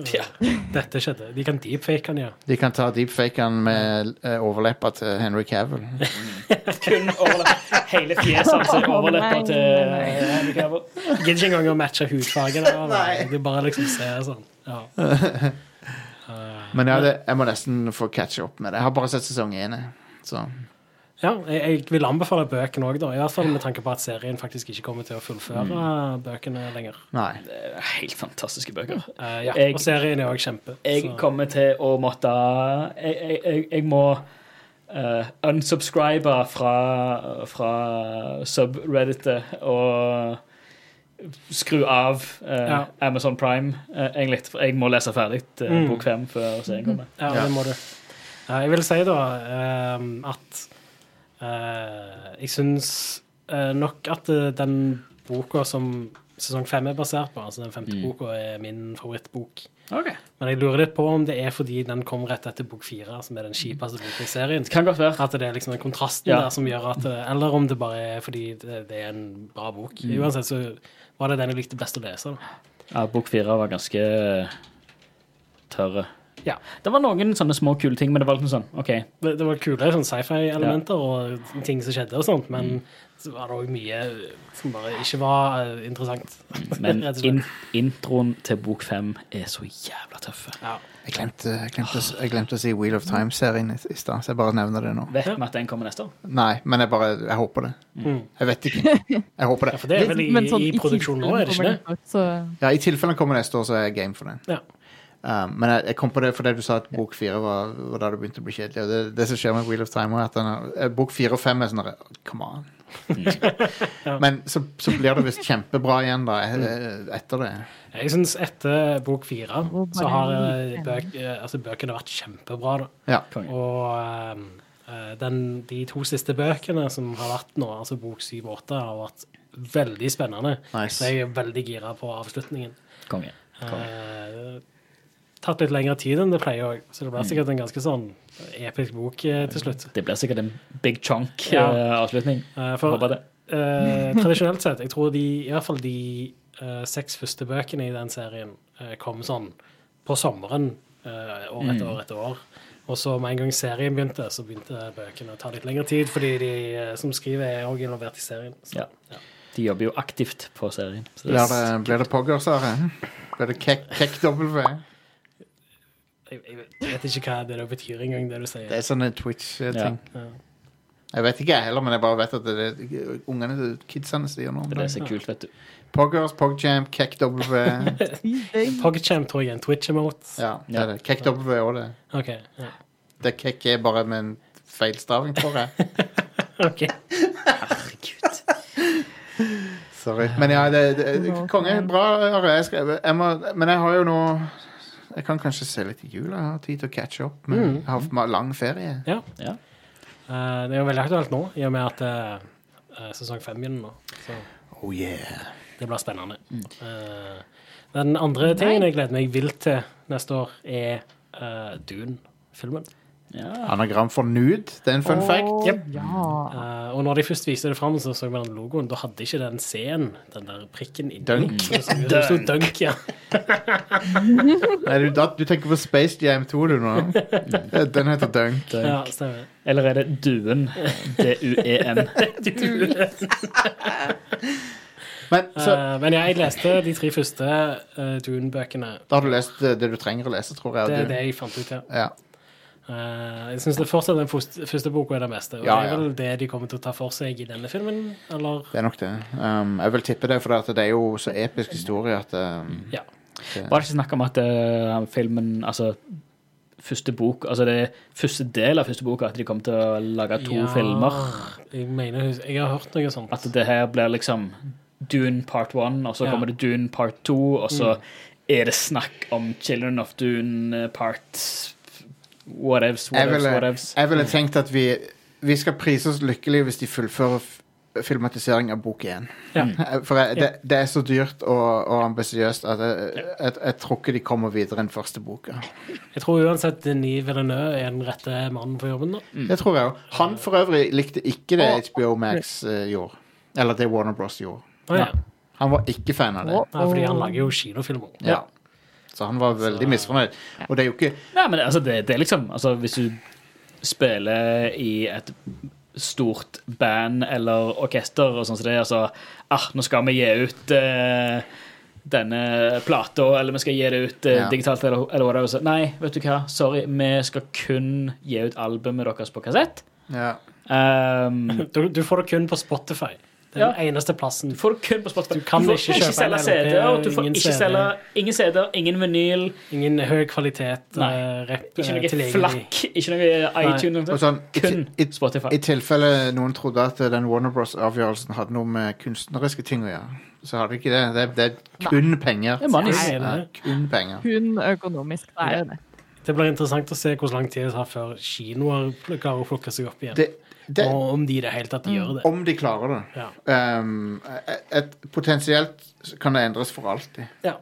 Speaker 2: fjes.
Speaker 3: Ja.
Speaker 4: [laughs] dette skjedde. De kan deepfake han, ja.
Speaker 2: De kan ta deepfaken med eh, overleppa til Henry Cavill.
Speaker 3: Kun overleppe hele fjeset hans er overleppa til
Speaker 1: Nei,
Speaker 3: Henry Cavill.
Speaker 4: Jeg gidder ikke engang å matche hudfargen.
Speaker 1: [laughs]
Speaker 4: der,
Speaker 2: Nei.
Speaker 4: nei. Du bare liksom ser sånn. Ja. Eh,
Speaker 2: Men ja, det, jeg må nesten få catche opp med det. Jeg har bare sett sesong én. jeg. Så
Speaker 4: ja, jeg, jeg vil anbefale bøkene òg, da. I hvert fall med tanke på at serien faktisk ikke kommer til å fullføre
Speaker 3: Mm.
Speaker 4: bøkene lenger.
Speaker 2: nei.
Speaker 3: Det er Helt fantastiske bøker.
Speaker 4: Eh, ja,
Speaker 3: Jeg-
Speaker 4: Og serien er òg kjempe.
Speaker 3: Jeg
Speaker 4: så-
Speaker 3: kommer til å måtte Jeg, jeg, jeg, jeg må eh, unsubscribe fra, fra subredditet og skru av eh,
Speaker 4: Ja.
Speaker 3: Amazon Prime, eh, egentlig. For jeg må lese ferdig eh,
Speaker 4: Mm.
Speaker 3: bok fem før serien kommer.
Speaker 4: Ja,
Speaker 2: Ja.
Speaker 4: det må du. Eh, Jeg vil si da ehm, at eh, jeg syns eh, nok at eh, den boka som sesong fem er basert på, altså den femte
Speaker 3: Mm.
Speaker 4: boka, er min favorittbok. Men jeg lurer litt på om det er fordi den kom rett etter bok fire, som er den kjipeste boka i serien.
Speaker 3: Det kan godt være.
Speaker 4: At det er liksom den kontrasten
Speaker 3: Ja.
Speaker 4: der som gjør at eh, Eller om det bare er fordi det, det er en bra bok.
Speaker 3: Mm.
Speaker 4: Uansett så var det den jeg likte best å lese. da.
Speaker 3: Ja, bok fire var ganske eh, tørre.
Speaker 4: Ja.
Speaker 3: Det var noen sånne små kule ting, men det var liksom sånn OK.
Speaker 4: [laughs] Det, det var kule sånn sci-fi-elementer og ting som skjedde og sånt, men så var det òg mye eh, som bare ikke var eh, interessant.
Speaker 3: Men
Speaker 4: Rett og slett.
Speaker 3: in introen til bok fem er så jævla tøff.
Speaker 4: ja.
Speaker 2: Jeg glemte, jeg, glemte, jeg glemte å si Wheel of Time-serien i i stad, så jeg bare nevner det nå.
Speaker 3: Vet vi at den kommer neste år?
Speaker 2: Nei, men jeg bare jeg håper det.
Speaker 4: Mm.
Speaker 2: Jeg vet ikke. Jeg håper
Speaker 4: ja,
Speaker 2: det.
Speaker 4: for det er vel i,
Speaker 1: Men sånn
Speaker 4: i produksjon nå,
Speaker 1: tidsrommet
Speaker 4: er det ikke
Speaker 1: kommer
Speaker 4: det?
Speaker 1: den ut, Så
Speaker 2: Ja, I tilfelle den kommer neste år, så er jeg game for den.
Speaker 4: Ja.
Speaker 2: Um, men jeg, jeg kom på det fordi du sa at bok fire var, var da det begynte å bli kjedelig. Og det, det som skjer med Wheel of Time, er at den er, eh, bok fire og fem er sånn der, Come
Speaker 4: [laughs]
Speaker 2: on. Men så, så blir det visst kjempebra igjen da eh, etter det.
Speaker 4: Jeg syns etter bok fire
Speaker 1: Hvor
Speaker 4: så
Speaker 1: bare
Speaker 4: har eh,
Speaker 1: liten.
Speaker 4: bøk, eh, altså, bøkene vært kjempebra, da.
Speaker 2: Ja.
Speaker 3: Konge.
Speaker 4: Og ehm, eh, den, de to siste bøkene som har vært nå, altså bok syv og åtte, har vært veldig spennende.
Speaker 2: Nice.
Speaker 4: Så jeg er veldig gira på avslutningen.
Speaker 3: Konge. Konge.
Speaker 4: Eh, tatt litt lengre tid enn det pleier òg, så det blir sikkert en ganske sånn episk bok eh, til slutt.
Speaker 3: Det blir sikkert en big
Speaker 4: Ja.
Speaker 3: chunk-avslutning.
Speaker 4: Eh,
Speaker 3: Håper
Speaker 4: for
Speaker 3: det.
Speaker 4: eh, tradisjonelt sett, jeg tror de, i hvert fall de eh, seks første bøkene i den serien eh, kom sånn på sommeren eh, år
Speaker 2: Mm.
Speaker 4: etter år etter år. Og så med en gang serien begynte, så begynte bøkene å ta litt lengre tid, fordi de eh, som skriver, er òg involvert i serien. Så,
Speaker 3: Ja. De jobber jo aktivt på serien. Så det-
Speaker 2: Blir det, blir det poggers, Are? Blir det kekk kekk W?
Speaker 4: jeg, jeg vet ikke hva det der betyr engang, det du sier.
Speaker 2: Det er sånne Twitch-ting.
Speaker 4: Ja.
Speaker 2: Jeg vet ikke jeg heller, men jeg bare vet at det er det ungene til kidsene sier nå. om
Speaker 3: det er det
Speaker 2: dagen.
Speaker 3: som er kult, vet du.
Speaker 2: Poggers, Pogjam, [laughs] KekkW.
Speaker 4: Pogchamp tror jeg er en Twitch-emote.
Speaker 2: Ja, det er det. KekkW er også det.
Speaker 4: OK. Ja.
Speaker 2: Det er kekk er bare med en feilstaving, tror jeg.
Speaker 4: Ok.
Speaker 2: [laughs]
Speaker 4: [laughs]
Speaker 2: Sorry. Men ja, det, det konge. Bra, Are. Jeg skal, jeg må, men jeg har jo nå Jeg kan kanskje se litt i jula. Jeg har tid til å catche opp. Men jeg har hatt lang ferie.
Speaker 4: Ja.
Speaker 3: Ja.
Speaker 4: Eh, det er jo veldig aktuelt nå, i og med at eh, eh, sesong fem begynner nå. Så
Speaker 2: Oh yeah. Mm.
Speaker 4: det blir spennende. Eh, den andre tingen jeg gleder meg vilt til neste år, er eh, Dune-filmen.
Speaker 3: Ja.
Speaker 2: Anagram for nude. Det er en fun fact.
Speaker 1: Å, Ja.
Speaker 4: Eh, og når de først viste det fram, så så vi den logoen. Da hadde ikke den C-en, den der prikken, inni.
Speaker 2: Dunk.
Speaker 4: Det så- det sto dunk, ja.
Speaker 2: Nei, du, da, du tenker på Space Jam 2, du nå. Den heter Dunk.
Speaker 4: ja stemmer.
Speaker 3: Eller er det
Speaker 4: [laughs]
Speaker 3: Duen? E D-u-e-n.
Speaker 2: Men så
Speaker 4: Eh, men ja, jeg leste de tre første eh, Dune-bøkene.
Speaker 2: Da har du lest eh, det du trenger å lese, tror jeg.
Speaker 4: Det er
Speaker 2: og du-
Speaker 4: det jeg fant ut, ja.
Speaker 2: Ja.
Speaker 4: Eh, jeg syns fortsatt den første, første boka er den beste. Og
Speaker 2: Ja,
Speaker 4: Det
Speaker 2: ja.
Speaker 4: er vel det de kommer til å ta for seg i denne filmen, eller?
Speaker 2: Det er nok det. Um, jeg vil tippe det, for at det er jo så episk historie at um,
Speaker 4: Ja.
Speaker 3: Var det ikke snakk om at eh, filmen Altså, første bok Altså, det er første del av første boka at de kommer til å lage to
Speaker 4: Ja,
Speaker 3: filmer.
Speaker 4: Jeg mener, jeg har hørt noe sånt.
Speaker 3: At det her blir liksom Dune part one, og så
Speaker 4: Ja. Mm.
Speaker 3: kommer det Dune part two, og så er det snakk om Children of Dune eh, part Whatevs,
Speaker 2: jeg
Speaker 3: whatevs,
Speaker 2: ville,
Speaker 3: whatevs.
Speaker 2: jeg ville tenkt at vi, vi skal prise oss lykkelige hvis de fullfører f- filmatisering av bok én.
Speaker 4: Ja.
Speaker 2: [laughs] For jeg, det, det er så dyrt og, og ambisiøst at jeg, jeg, jeg tror ikke de kommer videre enn første boka.
Speaker 4: Jeg tror uansett Denis Villeneuve er den rette mannen for jobben. da.
Speaker 3: Mm.
Speaker 2: Det tror jeg òg. Han for øvrig likte ikke det HBO Max eh, gjorde. Eller det Warner Bros gjorde.
Speaker 4: Å, ja.
Speaker 3: Ja.
Speaker 2: Han var ikke fan av det.
Speaker 4: Nei, fordi han lager jo kinofilmer.
Speaker 2: Ja. Så han var veldig misfornøyd. Og det er jo ikke
Speaker 3: Nei, men altså, det, det er liksom altså, Hvis du spiller i et stort band eller orkester og sånn som det, er, altså ah, Nå skal vi gi ut eh, denne plata, eller vi skal gi det ut eh,
Speaker 2: Ja.
Speaker 3: digitalt, eller, eller hva det er. og så, Nei, vet du hva, sorry, vi skal kun gi ut albumet deres på kassett.
Speaker 2: ja.
Speaker 3: Um,
Speaker 4: [laughs] Du, du får det kun på Spotify. Det er
Speaker 3: Ja.
Speaker 4: den eneste plassen.
Speaker 3: du får det kun på Spotify.
Speaker 4: Du kan
Speaker 3: får
Speaker 4: ikke kjøpe en
Speaker 3: selge
Speaker 4: LP,
Speaker 3: CD-er, du får
Speaker 4: ingen
Speaker 3: ikke
Speaker 4: CD.
Speaker 3: selge ingen CD-er, ingen vinyl,
Speaker 4: Ingen høy kvalitet.
Speaker 3: Nei.
Speaker 4: eh, rep,
Speaker 3: ikke
Speaker 4: eh,
Speaker 3: noe
Speaker 4: tilgjengelig.
Speaker 3: flakk, ikke noe iTunes.
Speaker 2: Og sånn, i,
Speaker 3: Kun
Speaker 2: i,
Speaker 3: Spotify.
Speaker 2: I tilfelle noen trodde at den Warner Bros.-avgjørelsen hadde noe med kunstneriske ting å gjøre, så hadde det ikke det. Det, det er kun penger.
Speaker 3: Det er money.
Speaker 4: Nei,
Speaker 2: Ja,
Speaker 4: nei.
Speaker 2: kun penger.
Speaker 1: Kun økonomisk. Det er jo det.
Speaker 4: Det blir interessant å se hvor lang tid det tar før kinoer klarer å plukke seg opp igjen.
Speaker 2: Det, det,
Speaker 4: og om de i det hele tatt gjør det.
Speaker 2: om de klarer det.
Speaker 4: Ja.
Speaker 2: Um, et, et, potensielt så kan det endres for alltid.
Speaker 4: Ja.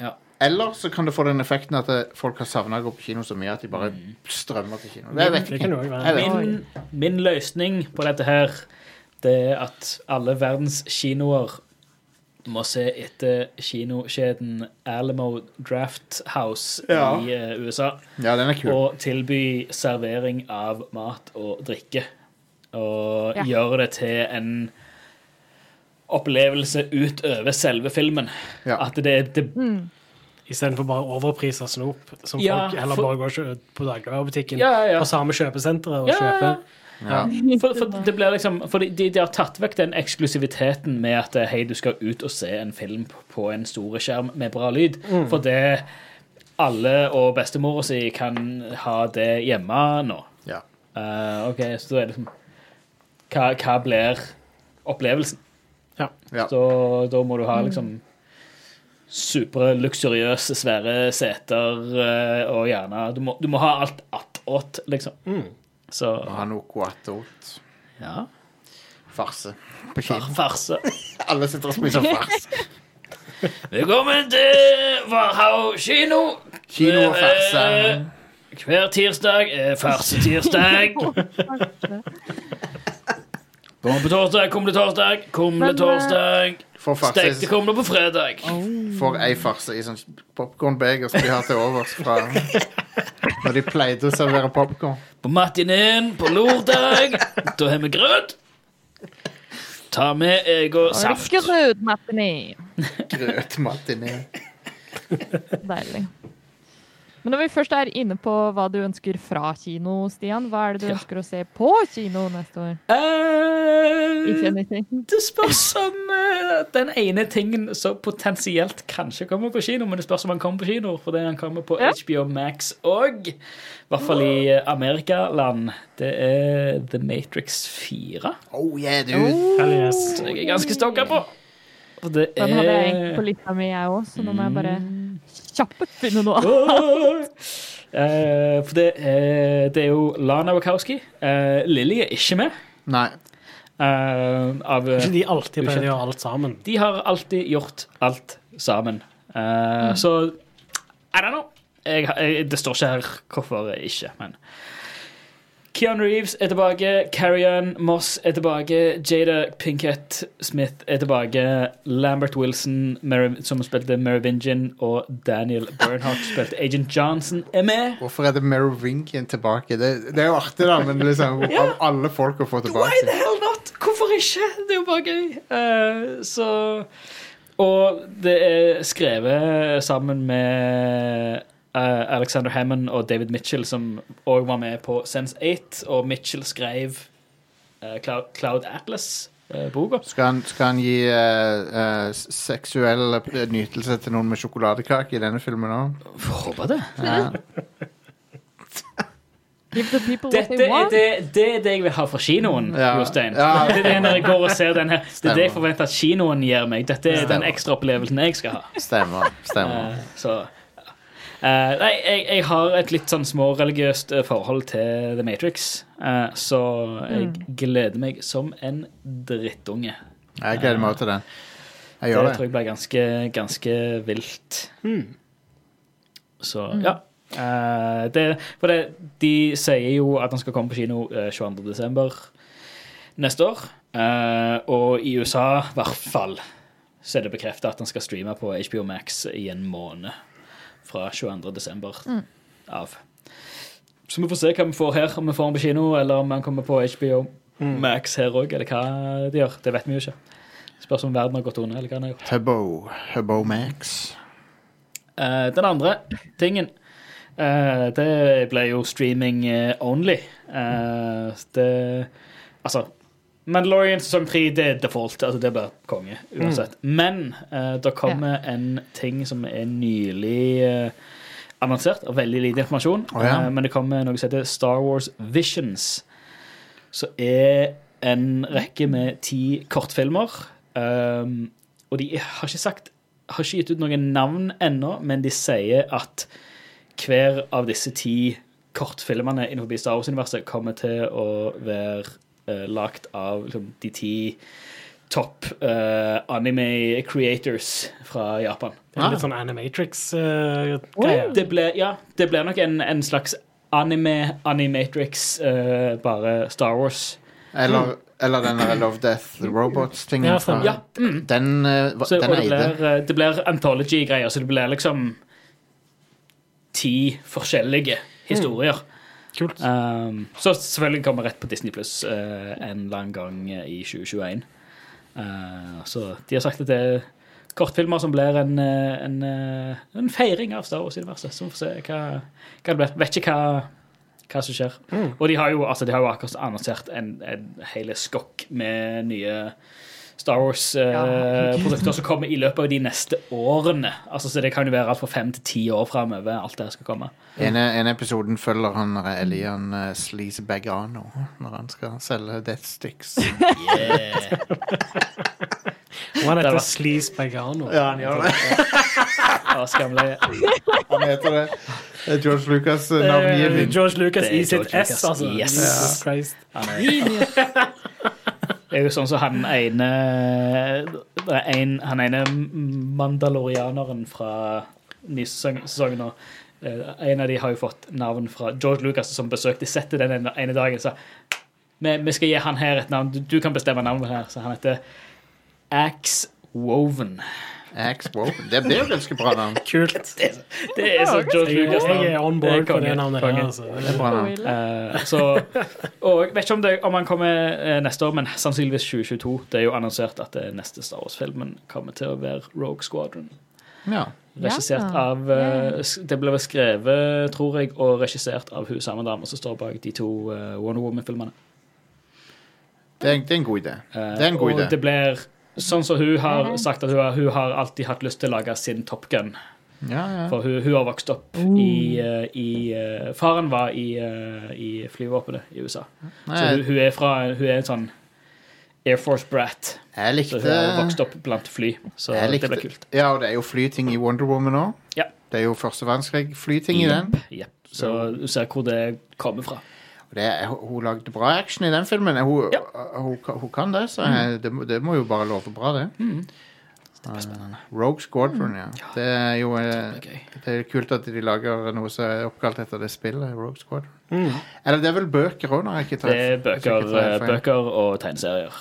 Speaker 3: Ja.
Speaker 2: Eller så kan det få den effekten at eh, folk har savna å gå på kino så mye at de bare strømmer til kino. Jeg vet
Speaker 4: Det
Speaker 2: ikke.
Speaker 4: kan jo også være.
Speaker 2: Jeg vet. ikke.
Speaker 3: Min, min løsning på dette her Det er at alle verdens kinoer må se etter kinokjeden Alamo Draft House
Speaker 2: Ja.
Speaker 3: i eh, USA
Speaker 2: Ja, den er kul.
Speaker 3: og tilby servering av mat og drikke. Og
Speaker 1: Ja.
Speaker 3: gjøre det til en opplevelse utover selve filmen.
Speaker 2: Ja.
Speaker 3: At det, det
Speaker 4: Istedenfor bare overpris av snop, som
Speaker 3: Ja,
Speaker 4: folk heller
Speaker 3: for-
Speaker 4: bare går og kjø- på dagligvarebutikken
Speaker 3: Ja, ja, ja.
Speaker 4: på samme kjøpesenteret og
Speaker 3: Ja, ja, ja.
Speaker 4: kjøper.
Speaker 2: Ja.
Speaker 3: [laughs] For, for det blir liksom For de, de har tatt vekk den eksklusiviteten med at eh, hei, du skal ut og se en film p- på en store skjerm med bra lyd. For det alle og bestemora si kan ha det hjemme nå.
Speaker 2: Ja.
Speaker 3: Eh, OK, så da er det liksom Hva, hva blir opplevelsen?
Speaker 2: Ja.
Speaker 3: Så da må du ha liksom superluksuriøse, svære seter eh, og gjerne Du må, du må ha alt attåt, liksom. Så
Speaker 2: Må ha noe guatot.
Speaker 3: ja.
Speaker 2: Farse. På
Speaker 3: Far,
Speaker 2: kino.
Speaker 3: farse.
Speaker 2: Alle sitter og spiser farse.
Speaker 3: Velkommen til Varhaug kino.
Speaker 2: Kino og farse.
Speaker 3: Hver tirsdag er
Speaker 1: [laughs]
Speaker 3: farsetirsdag. Kom på torsdag, kumle torsdag, kumle
Speaker 1: Men, eh,
Speaker 3: torsdag.
Speaker 2: Får
Speaker 3: Stekte
Speaker 2: farse,
Speaker 3: kumler på fredag.
Speaker 2: får ei farse i sånn popkornbeger som de har til overs fra når de pleide å servere popkorn.
Speaker 3: På matineen på lørdag, da har vi grøt. Ta med egg og saft.
Speaker 1: Skrudmatteni.
Speaker 2: Grøtmatiné.
Speaker 1: Deilig. Men når vi først er inne på hva du ønsker fra kino, Stian, hva er det du
Speaker 3: Ja.
Speaker 1: ønsker å se på kino neste år? If
Speaker 3: Eh,
Speaker 1: anything.
Speaker 3: Det spørs om eh, den ene tingen som potensielt kanskje kommer på kino, men det spørs om han kommer på kino, for det han kommer på
Speaker 1: Ja.
Speaker 3: HBO Max og i hvert fall i eh, Amerikaland. Det er The Matrix 4.
Speaker 2: Oh yeah, dude.
Speaker 4: Hell yes.
Speaker 3: Så jeg er ganske Eh. stokka på. Og det
Speaker 1: Oh! Den hadde jeg egentlig på
Speaker 3: [laughs] er
Speaker 1: lista mi, jeg òg, så nå må jeg bare
Speaker 3: Mm.
Speaker 1: kjapt finne noe.
Speaker 3: Eh, For det er, det er jo Lana Wachowski. Eh, Lilly er ikke med.
Speaker 2: Nei.
Speaker 3: eh, av,
Speaker 4: Ikke de alltid pleier å gjøre alt sammen.
Speaker 3: De har alltid gjort alt sammen. Eh, Så I don't know. Jeg, jeg, det står ikke her hvorfor ikke, men Keanu Reeves er tilbake. Carrion Moss er tilbake. Jada Pinkett Smith er tilbake. Lambert Wilson, Mer- som spilte Merovingian, og Daniel Bernhardt, spilte Agent Johnson, er med.
Speaker 2: Hvorfor er det Merovingian tilbake? Det, det er jo artig, da, men liksom av alle folk å få
Speaker 3: Why the
Speaker 2: tilbake.
Speaker 3: hell not? Hvorfor ikke? Det er jo bare gøy. Eh, så Og det er skrevet sammen med eh, Alexander Hammond og David Mitchell, som òg var med på Sense 8. Og Mitchell skrev eh, Cloud, Cloud eh, Atlas-boka.
Speaker 2: Skal han, skal han gi eh, eh, seksuell eh, nytelse til noen med sjokoladekake i denne filmen òg?
Speaker 3: Håper det.
Speaker 2: Ja.
Speaker 1: Give the people what
Speaker 3: Dette
Speaker 1: they
Speaker 3: er
Speaker 1: want.
Speaker 3: det, det er det jeg vil ha fra kinoen,
Speaker 2: Ja.
Speaker 3: Jostein.
Speaker 2: Ja.
Speaker 3: Det er det når jeg går og ser den her. Det er det jeg
Speaker 2: Stemmer.
Speaker 3: forventer at kinoen gir meg. Dette er den
Speaker 2: Stemmer.
Speaker 3: ekstra opplevelsen jeg skal ha.
Speaker 2: Stemmer. stemmer.
Speaker 3: Eh, Så Eh, nei, jeg, jeg har et litt sånn småreligiøst eh, forhold til The Matrix, eh, så jeg gleder meg som en drittunge.
Speaker 2: Jeg gleder meg også til den. Jeg
Speaker 3: Det
Speaker 2: gjør det.
Speaker 3: tror jeg blir ganske, ganske vilt. Så, ja. Eh, det, for det, de sier jo at han skal komme på kino eh, 22. desember neste år. Eh, og i USA, i hvert fall, så er det bekreftet at han skal streame på HBO Max i en måned fra 22. desember av. Så vi får se hva vi får her, om vi får han på kino, eller om han kommer på HBO Max her òg, eller hva de gjør. Det vet vi jo ikke. Spørs om verden har gått under, eller hva den har gjort.
Speaker 2: Hubbo. Hubbo Max.
Speaker 3: Eh, den andre tingen eh, Det ble jo streaming eh, only. Eh, det Altså Mandalorian sesong tre det er default. Altså, det blir konge uansett. Men eh, det kommer en ting som er nylig eh, annonsert, og veldig lite informasjon.
Speaker 2: Å, ja.
Speaker 3: Eh, men det kommer noe som heter Star Wars Visions. Som er en rekke med ti kortfilmer. Um, og de har ikke sagt har ikke gitt ut noen navn ennå, men de sier at hver av disse ti kortfilmene innenfor Star Wars-universet kommer til å være uh, lagt av liksom, de ti topp eh, anime creators fra Japan.
Speaker 4: Det er litt sånn eh, Animatrix-greie.
Speaker 3: Det ble, ja, det ble nok en, en slags anime, animatrix, eh, bare Star Wars.
Speaker 2: Eller, eller den der Love Death Robots-tingen.
Speaker 4: Ja,
Speaker 2: fra-
Speaker 4: stemmer.
Speaker 3: Mm. Ja, Mm.
Speaker 2: Den, eh, hva-
Speaker 3: så, og
Speaker 2: den
Speaker 3: det
Speaker 2: eide.
Speaker 3: blir, eh, det blir anthology-greier, så det blir liksom ti forskjellige historier.
Speaker 4: Kult.
Speaker 3: Um, så selvfølgelig kommer rett på Disney Pluss eh, en eller annen gang eh, i 2021. Eh, så de har sagt at det er kortfilmer som blir en, eh, en, eh, en feiring av Star Wars-universet. Så vi får se hva, hva det blir. Vet ikke hva, hva som skjer. Og de har jo, altså, de har jo akkurat annonsert en, en hel skokk med nye Star
Speaker 1: Ja,
Speaker 3: Wars-produkter som kommer i løpet av de neste årene. Altså, så det kan jo være alt fra fem til ti år framover, alt det her skal komme.
Speaker 2: En, en episoden følger han der Elian eh, Sleazebagano når han skal selge Death
Speaker 3: [laughs]
Speaker 2: Sticks.
Speaker 4: Han
Speaker 3: Det var-
Speaker 4: heter Sleaze Pagano.
Speaker 2: ja, han gjør det.
Speaker 3: Ja, skamlig.
Speaker 2: Han heter det. Det er George Lucas' eh,
Speaker 4: Eh,
Speaker 2: navngivning.
Speaker 4: George Lucas
Speaker 3: Det er
Speaker 4: i sitt
Speaker 3: George
Speaker 4: S,
Speaker 3: Lucas.
Speaker 4: altså.
Speaker 3: Yes.
Speaker 4: Jesus Christ.
Speaker 3: Det [laughs] er jo sånn som han ene det er en, Han ene mandalorianeren fra ny sesong, sesong nå. Eh, En av de har jo fått navn fra George Lucas, som besøkte settet den ene, ene dagen. Så vi, vi skal gi han her et navn. Du, du kan bestemme navnet her. Så han heter Axe Woven.
Speaker 2: Axe Woven. Det blir jo ganske bra navn.
Speaker 4: Kult.
Speaker 3: Det, er- det er så George
Speaker 4: Jeg,
Speaker 3: Lucas.
Speaker 4: jeg er on board på
Speaker 3: konge,
Speaker 4: det navnet.
Speaker 3: konge.
Speaker 4: her, Altså.
Speaker 2: Det er bra
Speaker 3: [laughs]
Speaker 2: navn.
Speaker 1: Spoiler.
Speaker 3: Eh, så, og jeg vet ikke om, det, om han kommer eh, neste år, men sannsynligvis 2022. Det er jo annonsert at eh, neste Star Wars-filmen kommer til å være Rogue Squadron.
Speaker 2: Ja.
Speaker 3: Regissert
Speaker 1: Ja.
Speaker 3: av eh, sk- Det ble vel skrevet, tror jeg, og regissert av hun samme dama som står bak de to eh, Wonder Woman-filmene.
Speaker 2: Det, er, det er en god idé.
Speaker 3: Eh,
Speaker 2: Det er en god
Speaker 3: og
Speaker 2: idé.
Speaker 3: det blir sånn som hun har sagt at hun har, hun har alltid hatt lyst til å lage sin Top Gun.
Speaker 2: Ja, ja.
Speaker 3: For hun, hun har vokst opp i, eh, i eh, Faren var i, eh, i flyvåpenet i USA. Så hun,
Speaker 2: Nei,
Speaker 3: hun er fra Hun er en sånn Air Force Brat.
Speaker 2: jeg
Speaker 3: Så
Speaker 2: likte
Speaker 3: hun har vokst opp blant fly. Så
Speaker 2: jeg
Speaker 3: det
Speaker 2: likte-
Speaker 3: blir kult.
Speaker 2: Ja, og det er jo flyting i Wonder Woman òg.
Speaker 3: Ja.
Speaker 2: Det er jo første verdenskrig flyting i den.
Speaker 3: Jep. Mm. Så du ser hvor det kommer fra.
Speaker 2: Og Det er, hun lagde bra action i den filmen. Hun, hun, hun kan det, så jeg, det, må- det må jo bare love bra, det. Eh, Rogue Squadron, ja. Det er jo eh,
Speaker 3: Det blir gøy.
Speaker 2: det er kult at de lager noe som er oppkalt etter det spillet. Rogue Squadron.
Speaker 4: Mm.
Speaker 2: Eller det er vel bøker òg, når jeg ikke tar
Speaker 3: Det er bøker, eh,
Speaker 2: hvis jeg ikke tar feil.
Speaker 3: bøker og tegneserier.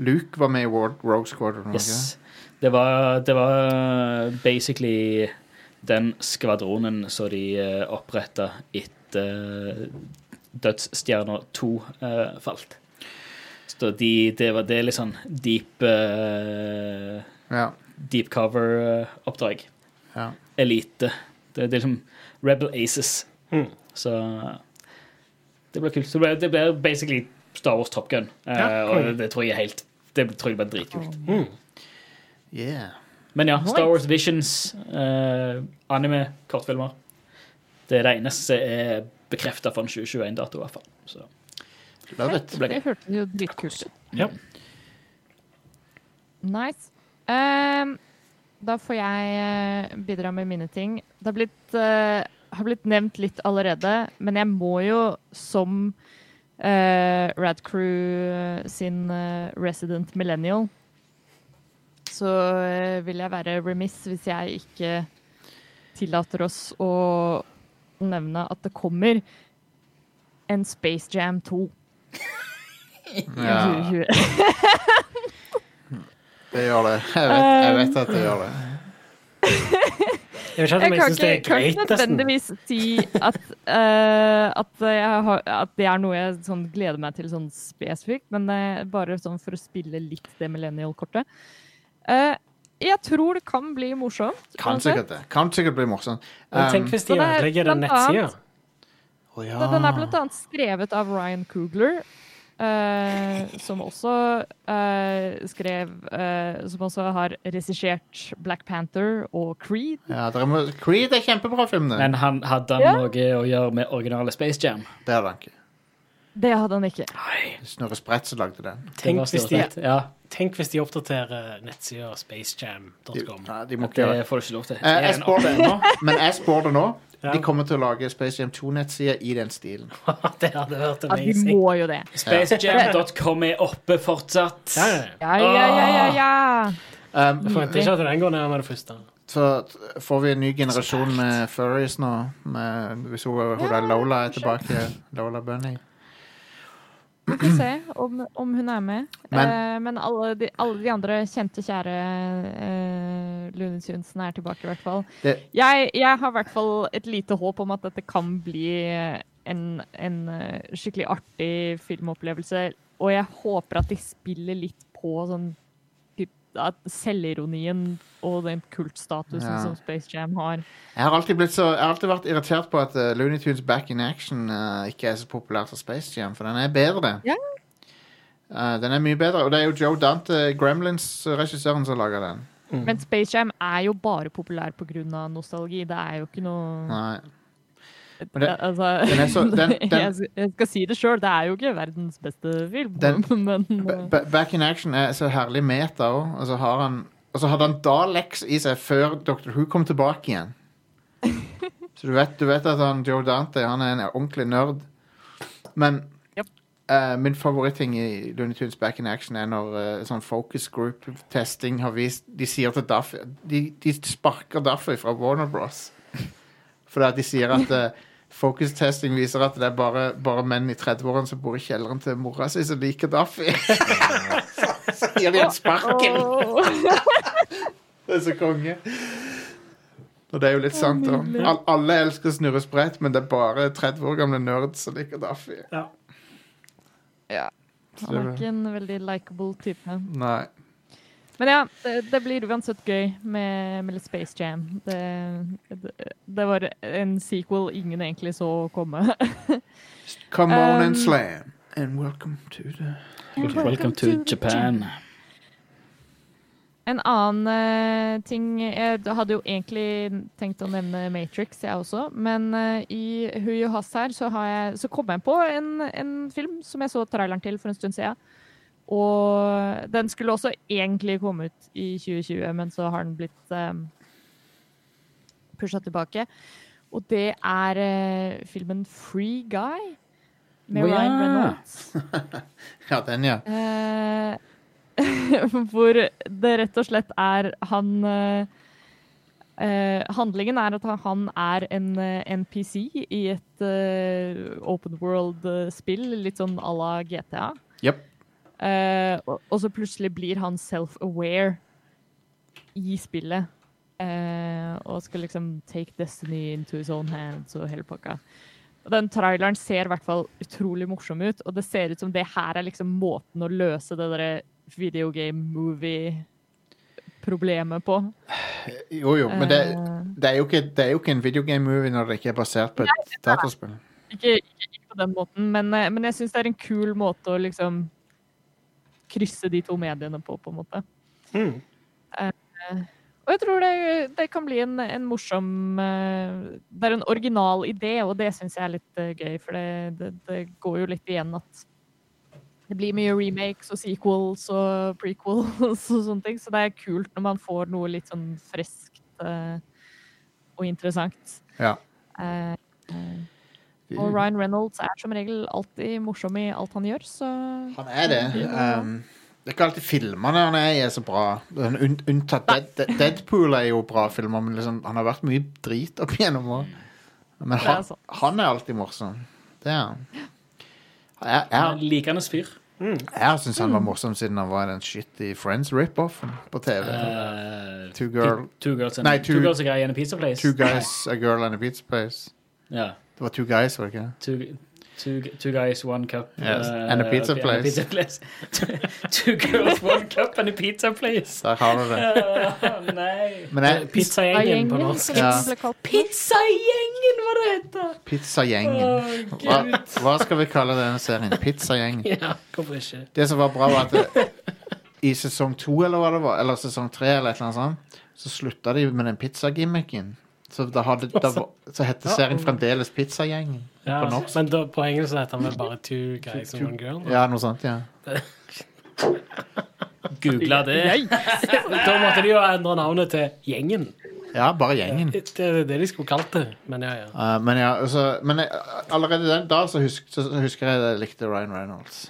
Speaker 2: Luke var med i War- Rogue Squadron. var han ikke
Speaker 3: Yes. Det var, det var eh, basically den skvadronen som de oppretta etter eh, Dødsstjerna 2 eh, falt. Så de, det, var, det er litt sånn deep eh,
Speaker 2: det? Ja.
Speaker 3: deep cover-oppdrag.
Speaker 2: Ja.
Speaker 3: Elite. Det, det er liksom Rebel Aces.
Speaker 4: Mm.
Speaker 3: Så eh, det blir kult. Så Det blir, det blir basically Star Wars Top Gun. Eh,
Speaker 4: Ja,
Speaker 3: og
Speaker 4: cool.
Speaker 3: det, det tror jeg er helt Det tror jeg blir dritkult.
Speaker 2: Yeah.
Speaker 3: Men ja, Star
Speaker 1: Right.
Speaker 3: Wars Visions, eh, anime, kortfilmer. Det er det eneste som er bekrefta for en 2021-dato, i hvert fall. Så
Speaker 2: Love it.
Speaker 3: det blir gøy.
Speaker 1: Det hørtes jo dritkult ut.
Speaker 4: Ja.
Speaker 1: Nice. Ehm, Da får jeg eh, bidra med mine ting. Det har blitt, eh, har blitt nevnt litt allerede, men jeg må jo som eh, Rad Crew sin eh, resident millennial så eh, vil jeg være remiss hvis jeg ikke tillater oss å nevne at det kommer en Space Jam 2 i
Speaker 2: Ja,
Speaker 1: 2020.
Speaker 2: det gjør det. Jeg vet, jeg vet at det gjør det.
Speaker 4: Jeg vet ikke helt
Speaker 1: Jeg
Speaker 4: om jeg
Speaker 1: kan
Speaker 4: syns det
Speaker 1: ikke,
Speaker 4: er
Speaker 1: kan
Speaker 4: greit,
Speaker 1: ikke
Speaker 4: nesten.
Speaker 1: nødvendigvis si at, eh, at, jeg har, at det er noe jeg sånn, gleder meg til sånn spesifikt, men eh, bare sånn for å spille litt det millennial-kortet. Eh, jeg tror det kan bli morsomt.
Speaker 2: Kan sikkert det. Kan sikkert bli morsomt.
Speaker 4: Men
Speaker 2: Um,
Speaker 4: tenk hvis de
Speaker 1: Så det er
Speaker 4: ødelegger den
Speaker 1: blant
Speaker 4: nettsida.
Speaker 1: annet-
Speaker 2: å ja.
Speaker 1: Da Den er blant annet skrevet av Ryan Coogler, eh, som også eh, skrev eh, Som også har regissert Black Panther og Creed.
Speaker 2: Ja, dere må, Creed er kjempebra film, det.
Speaker 3: Men han hadde han
Speaker 1: Ja.
Speaker 3: noe å gjøre med originale Space Jam?
Speaker 2: Det er det ikke.
Speaker 1: Det hadde han ikke.
Speaker 2: Snorre Spretz lagde den.
Speaker 3: Det
Speaker 4: Tenk
Speaker 3: var
Speaker 4: hvis
Speaker 3: stort
Speaker 4: de-
Speaker 3: sett, ja.
Speaker 4: Tenk hvis de oppdaterer nettsida
Speaker 2: De,
Speaker 4: spacejam.com.
Speaker 2: nei, de må ikke gjøre det.
Speaker 3: Det får du ikke lov til.
Speaker 2: Eh,
Speaker 3: Det
Speaker 2: jeg
Speaker 3: er en
Speaker 2: spår det nå, men jeg spår det nå.
Speaker 4: Ja.
Speaker 2: De kommer til å lage Space Jam 2-nettsider i den stilen.
Speaker 4: [laughs] det hadde vært
Speaker 1: Ja, de
Speaker 4: amazing.
Speaker 1: må jo det.
Speaker 3: Spacejam.com er oppe fortsatt.
Speaker 4: Ja, ja, ja.
Speaker 1: Ja, ja, ja, ja, ja.
Speaker 2: Um,
Speaker 4: Jeg forventer ikke at den går ned med det første.
Speaker 2: så t- får vi en ny generasjon med furries nå. Med, hvis hun, hun der Lola er tilbake. Lola Bunny.
Speaker 1: Vi får se om, om hun er med. Men,
Speaker 2: Men-
Speaker 1: eh, men alle, de, alle de andre kjente, kjære eh, Looney Tunesene er tilbake, i hvert fall.
Speaker 2: Det-
Speaker 1: Jeg, jeg har i hvert fall et lite håp om at dette kan bli eh, en, en eh, skikkelig artig filmopplevelse. Og jeg håper at de spiller litt på sånn typ, at selvironien og den kultstatusen
Speaker 2: Ja.
Speaker 1: som Space Jam har.
Speaker 2: Jeg har alltid, blitt så, jeg har alltid vært irritert på at eh, Looney Tunes Back in Action eh, ikke er så populær som Space Jam, for den er bedre.
Speaker 1: Ja.
Speaker 2: Eh, den er mye bedre, og det er jo Joe Dante, Gremlins-regissøren, som lager den.
Speaker 1: Men Space Jam er jo bare populær pga. nostalgi. Det er jo ikke noe
Speaker 2: Nei. Men det-
Speaker 1: Ja, altså,
Speaker 2: den er [laughs] så-
Speaker 1: [laughs]
Speaker 2: den- den-
Speaker 1: jeg, s- jeg skal si det sjøl, det er jo ikke verdens beste film,
Speaker 2: Den-
Speaker 1: [laughs] men
Speaker 2: Ba- ba- Back in Action er så herlig meta òg. Og så har han og så hadde han Daleks i seg før Dr. Who kom tilbake igjen. [laughs] Så du vet, du vet at han Joe Dante han er en ordentlig nerd. Men
Speaker 1: Japp.
Speaker 2: eh, min favoritting i Looney Tunes Back in Action er når eh, sånn focus group-testing har vist De sier til Duffy De, de sparker Duffy fra Warner Bros. [laughs] Fordi at de sier at eh, focus-testing viser at det er bare, bare menn i 30-årene som bor i kjelleren til mora si, som liker Duffy. så, [laughs] så gir de en sparken.
Speaker 1: Åh,
Speaker 2: Det er så konge. Og det er jo litt sant, da.
Speaker 1: nydelig.
Speaker 2: Al- Alle elsker Snurre Sprett, men det er bare 30 år gamle nerds som liker Daffy.
Speaker 4: Ja.
Speaker 1: ja. [laughs] Han er ikke en veldig likeable type.
Speaker 2: Nei.
Speaker 1: Men ja, det, det blir uansett gøy med, med litt Space Jam. Det, det, det var en sequel ingen egentlig så komme. [laughs]
Speaker 2: Come on
Speaker 1: Um,
Speaker 2: and slam. And welcome to the
Speaker 3: Welcome to Japan.
Speaker 1: En annen eh, ting Jeg hadde jo egentlig tenkt å nevne Matrix, jeg også. Men eh, i Hui og Hass her så, har jeg, så kom jeg på en, en film som jeg så traileren til for en stund siden. Og den skulle også egentlig komme ut i 2020, men så har den blitt um, pusha tilbake. Og det er eh, filmen Free Guy med
Speaker 3: Å ja.
Speaker 1: Ryan Reynolds.
Speaker 2: Ja, den, ja.
Speaker 1: Eh, [laughs] hvor det rett og slett er han eh, eh, Handlingen er at han- han er en eh, NPC i et eh, open world-spill, litt sånn à la GTA.
Speaker 2: Jepp.
Speaker 1: Eh, og, og så plutselig blir han self-aware i spillet. eh, og skal liksom take destiny into his own hands og hele pakka. Og Den traileren ser i hvert fall utrolig morsom ut, og det ser ut som det her er liksom måten å løse det derre videogame-movie-problemet på.
Speaker 2: Jo, jo, men det,
Speaker 1: Eh.
Speaker 2: det, er jo ikke, det er jo ikke en videogame-movie når det ikke er basert på et dataspill.
Speaker 1: Ikke, ikke, ikke på den måten, men, eh, men jeg syns det er en kul måte å liksom krysse de to mediene på, på en måte.
Speaker 4: Mm.
Speaker 1: Og jeg tror det, det kan bli en, en morsom eh, Det er en original idé, og det syns jeg er litt eh, gøy. For det, det, det går jo litt igjen at Det blir mye remakes og sequels og prequels [laughs] og sånne ting, så det er kult når man får noe litt sånn friskt eh, og interessant.
Speaker 2: Ja.
Speaker 1: Eh, og Ryan Reynolds er som regel alltid morsom i alt han gjør, så
Speaker 2: Han er det. Um, det er ikke alltid filmene han er i, er så bra. Den unn- Unntatt Dead, Dead- Deadpool er jo bra filmer, men liksom, han har vært mye drit opp igjennom òg. Men
Speaker 1: Det er
Speaker 2: han,
Speaker 1: sant.
Speaker 2: han er alltid morsom. Det er han. Jeg,
Speaker 3: Han er
Speaker 2: jeg,
Speaker 3: en Likende fyr.
Speaker 2: jeg syns han var morsom siden han var i den shitty Friends rip-offen på TV.
Speaker 3: Eh,
Speaker 2: Two girl-
Speaker 3: two girls and,
Speaker 2: Nei,
Speaker 3: two,
Speaker 2: two-
Speaker 3: girls and a guy in a pizza place.
Speaker 2: Two guys, a girl and a pizza place.
Speaker 3: [laughs] Ja.
Speaker 2: Det var two guys, var det ikke? det?
Speaker 3: Two, two, two guys, one cup.
Speaker 2: Yes,
Speaker 3: eh,
Speaker 2: and a pizza place.
Speaker 3: pizza [laughs] place. two, two girls, one cup and a pizza place. [laughs]
Speaker 2: Der har du det.
Speaker 3: Åh, nei.
Speaker 2: Men jeg,
Speaker 4: Pizzagjengen på norsk.
Speaker 1: som
Speaker 2: Ja.
Speaker 1: den ble kalt.
Speaker 3: Pizzagjengen, hva det heter!
Speaker 2: [laughs] pizzagjengen.
Speaker 3: Åh,
Speaker 2: Hva,
Speaker 3: Gud.
Speaker 2: hva skal vi kalle denne serien? Pizzagjengen.
Speaker 4: Ja, hvorfor ikke?
Speaker 2: Det som var bra, var at det, i sesong to eller hva det var, eller sesong tre, eller et eller annet sånt, så slutta de med den pizzagimmicken. Så, da hadde, da, var- så hette serien fremdeles Pizzagjengen.
Speaker 4: Ja,
Speaker 2: På norsk.
Speaker 4: men da, på engelsk så heter han vel bare Two Guys and One Girl.
Speaker 2: Ja, noe sånt, ja.
Speaker 3: Googla det.
Speaker 4: Da måtte de jo endre navnet til Gjengen.
Speaker 2: Ja, bare Gjengen.
Speaker 4: Det er det de skulle kalt det. Men ja, ja.
Speaker 2: Eh, men ja, altså, men jeg, allerede den, da så, husk, så så husker jeg jeg likte Ryan Reynolds.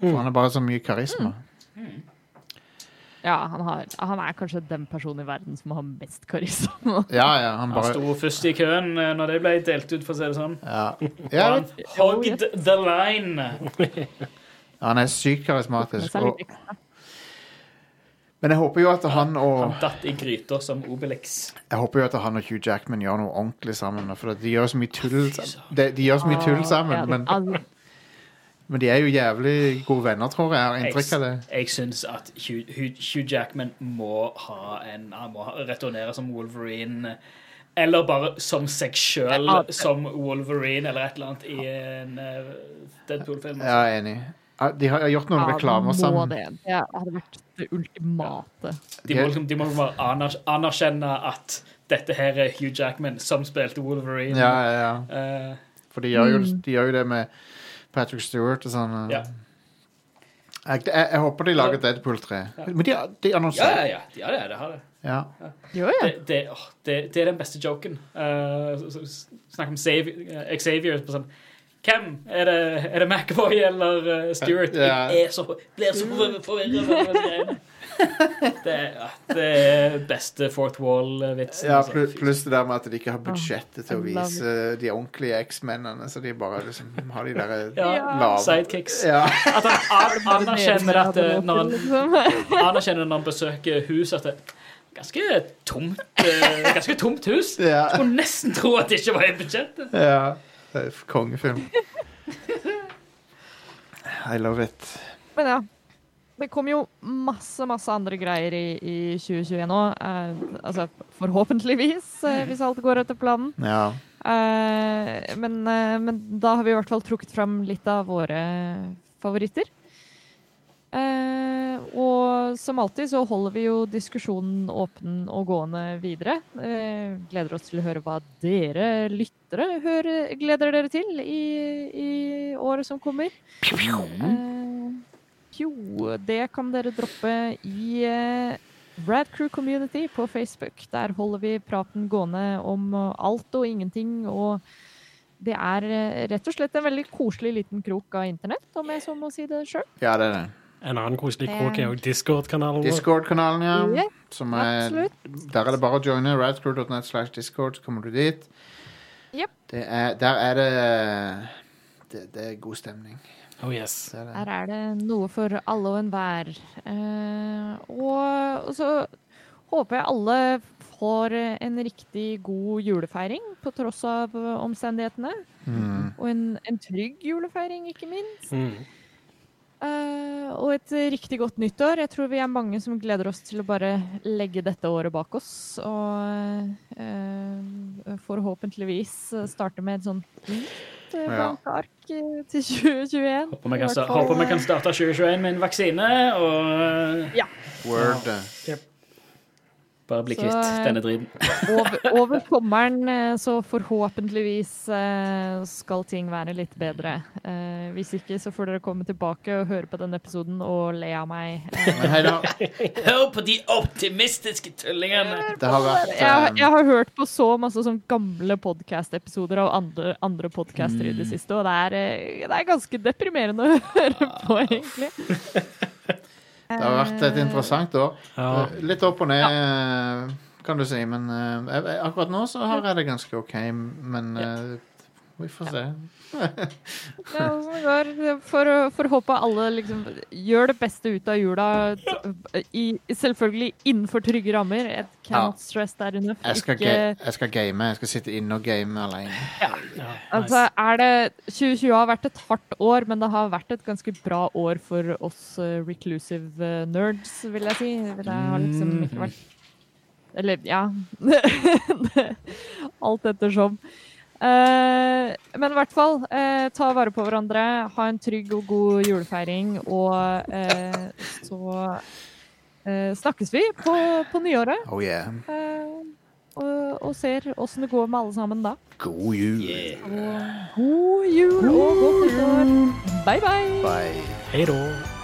Speaker 2: For han har bare så mye karisma.
Speaker 1: Ja, han, har, han er kanskje den personen i verden som har mest karisma.
Speaker 2: Ja, ja, han
Speaker 3: Han
Speaker 2: bare
Speaker 3: sto først i køen eh, når det ble delt ut, for å si det sånn.
Speaker 2: ja.
Speaker 3: Og
Speaker 2: Ja,
Speaker 3: han hogged the line.
Speaker 2: Han er sykt
Speaker 1: Mens
Speaker 2: karismatisk.
Speaker 1: han er
Speaker 2: Og,
Speaker 1: litt ekstra.
Speaker 2: men jeg håper jo at han og
Speaker 3: Han datt i gryta som Obelix.
Speaker 2: Jeg håper jo at han og Hugh Jackman gjør noe ordentlig sammen. nå, For de gjør så mye tull sammen, de, de gjør så mye tull sammen
Speaker 1: Ja, altså,
Speaker 2: men, [laughs]
Speaker 1: al-
Speaker 2: men de er jo jævlig gode venner, tror jeg. Jeg har inntrykk av det.
Speaker 3: Jeg syns at Hugh, Hugh, Hugh Jackman må ha en Han må ha- returnere som Wolverine. Eller bare som seg sjøl
Speaker 1: Ja.
Speaker 3: som Wolverine, eller et eller annet i en eh, Deadpool-film.
Speaker 2: Jeg er enig. Ja, De har gjort noen
Speaker 1: ja,
Speaker 2: reklamer
Speaker 1: må
Speaker 2: sammen.
Speaker 1: Det. det hadde vært det ultimate.
Speaker 3: De må, liksom, de må bare aner- anerkjenne at dette her er Hugh Jackman som spilte Wolverine.
Speaker 2: Ja, ja, ja.
Speaker 3: Eh,
Speaker 2: For de gjør, jo,
Speaker 1: Mm.
Speaker 2: de gjør jo det med Patrick Stewart og sånn.
Speaker 3: ja.
Speaker 2: Jeg, jeg, jeg håper de lager Deadpool 3. Men de, de
Speaker 3: ja,
Speaker 2: annonserer
Speaker 3: ja, ja. ja det, er det, har det.
Speaker 2: ja.
Speaker 1: Jo, ja.
Speaker 3: Det, det, åh, det, det er den beste joken. Eh, så- så- s- Snakk om Xavier, eh, Xavier på sånn, Hvem? Er det, er det McAvoy eller eh, Stewart?
Speaker 2: Ja.
Speaker 3: Jeg er så, blir så forvirret over disse
Speaker 2: [laughs]
Speaker 3: greiene. Det, er- ja, det er beste fourth wall-vitsen.
Speaker 2: Ja,
Speaker 3: altså.
Speaker 2: plu-
Speaker 3: Fy
Speaker 2: pluss det der med at de ikke har budsjettet til å
Speaker 1: I love
Speaker 2: vise de ordentlige X-mennene, så de bare liksom har de derre
Speaker 3: Ja,
Speaker 2: lave-
Speaker 3: sidekicks.
Speaker 2: Ja.
Speaker 3: At han an- anerkjenner at eh, når han
Speaker 1: Liksom. [laughs]
Speaker 3: anerkjenner når han besøker hus at det er ganske tomt, eh, ganske tomt hus.
Speaker 2: ja.
Speaker 3: Skulle nesten tro at det ikke var i budsjettet.
Speaker 2: Ja. Det er kongefilm. I love it.
Speaker 1: Men ja. Det kom jo masse, masse andre greier i, i 2021 òg. Eh, altså forhåpentligvis, eh, hvis alt går etter planen.
Speaker 2: Ja.
Speaker 1: Eh, men, eh, men da har vi i hvert fall trukket fram litt av våre favoritter. Eh, og som alltid så holder vi jo diskusjonen åpen og gående videre. Eh, gleder oss til å høre hva dere lyttere hører, gleder dere til i, i året som kommer. Eh, jo, det kan dere droppe i eh, Rad Crew Community på Facebook. Der holder vi praten gående om eh, alt og ingenting. Og det er eh, rett og slett en veldig koselig liten krok av internett, om jeg så må si det sjøl.
Speaker 2: ja, det er det.
Speaker 4: En annen koselig krok er jo Discord-kanalen vår.
Speaker 2: Discord-kanalen, ja.
Speaker 1: Ja,
Speaker 2: Som er,
Speaker 1: absolutt.
Speaker 2: der er det bare å joine. Radcrew.net slash discord, så kommer du dit.
Speaker 1: Jep.
Speaker 2: Det er, der er det det, det er god stemning.
Speaker 4: Oh yes.
Speaker 2: Det er det.
Speaker 1: Her er det noe for alle og enhver. Eh, og, og så håper jeg alle får eh, en riktig god julefeiring på tross av eh, omstendighetene.
Speaker 2: Mm.
Speaker 1: Og en, en trygg julefeiring, ikke minst.
Speaker 4: Mm.
Speaker 1: Eh, og et eh, riktig godt nyttår. Jeg tror vi er mange som gleder oss til å bare legge dette året bak oss. Og eh, forhåpentligvis eh, starte med et sånt nytt eh,
Speaker 2: Ja.
Speaker 1: blankt ark eh, til 2021.
Speaker 3: Håper vi kan,
Speaker 1: I hvert
Speaker 3: sta-
Speaker 1: fall,
Speaker 3: håper vi
Speaker 1: eh,
Speaker 3: kan starte 2021 med en vaksine og
Speaker 2: Word.
Speaker 3: Bare bli
Speaker 1: Så,
Speaker 3: kvitt
Speaker 1: eh,
Speaker 3: denne driten.
Speaker 1: Over, over sommeren eh, så forhåpentligvis eh, skal ting være litt bedre. Eh, Hvis ikke så får dere komme tilbake og høre på denne episoden og le av meg. Eh,
Speaker 2: Men hei, det har,
Speaker 3: Hør på de optimistiske tullingene!
Speaker 2: det har vært
Speaker 1: Jeg,
Speaker 2: ehm,
Speaker 1: jeg har hørt på så masse sånn gamle podcast-episoder av andre, andre podcaster i det
Speaker 2: Mm.
Speaker 1: siste, og det er, eh, det er ganske deprimerende å [laughs] høre på, egentlig.
Speaker 2: [laughs] Det har vært
Speaker 1: Eh.
Speaker 2: et interessant år.
Speaker 4: Ja.
Speaker 2: Eh, Litt opp og ned, eh, kan du si. Men eh, jeg- jeg- akkurat nå så har jeg det ganske OK. Men eh, vi får se.
Speaker 1: Eh, Ja, hvordan det går. For, å- for å håpe alle liksom gjør det beste ut av jula. t- I, selvfølgelig innenfor trygge rammer. Jeg
Speaker 2: Ja.
Speaker 1: cannot stress that enough.
Speaker 2: Jeg skal,
Speaker 1: Ikke-
Speaker 2: ga jeg skal game. Jeg skal sitte inne og game alene.
Speaker 4: Ja,
Speaker 1: altså, er det, 2020 har vært et hardt år, men det har vært et ganske bra år for oss eh, reclusive eh, nerds, vil jeg si. Det har liksom ikke vært Eller, ja. [laughs] Alt ettersom. Eh, men i hvert fall, eh, ta vare på hverandre. Ha en trygg og god julefeiring. Og eh, så eh, snakkes vi på, på nyåret
Speaker 2: Oh yeah.
Speaker 1: eh, og, og ser åssen det går med alle sammen da.
Speaker 2: God jul.
Speaker 1: God jul og godt nyttår. Bye, bye.
Speaker 2: Bye.
Speaker 4: Hei da.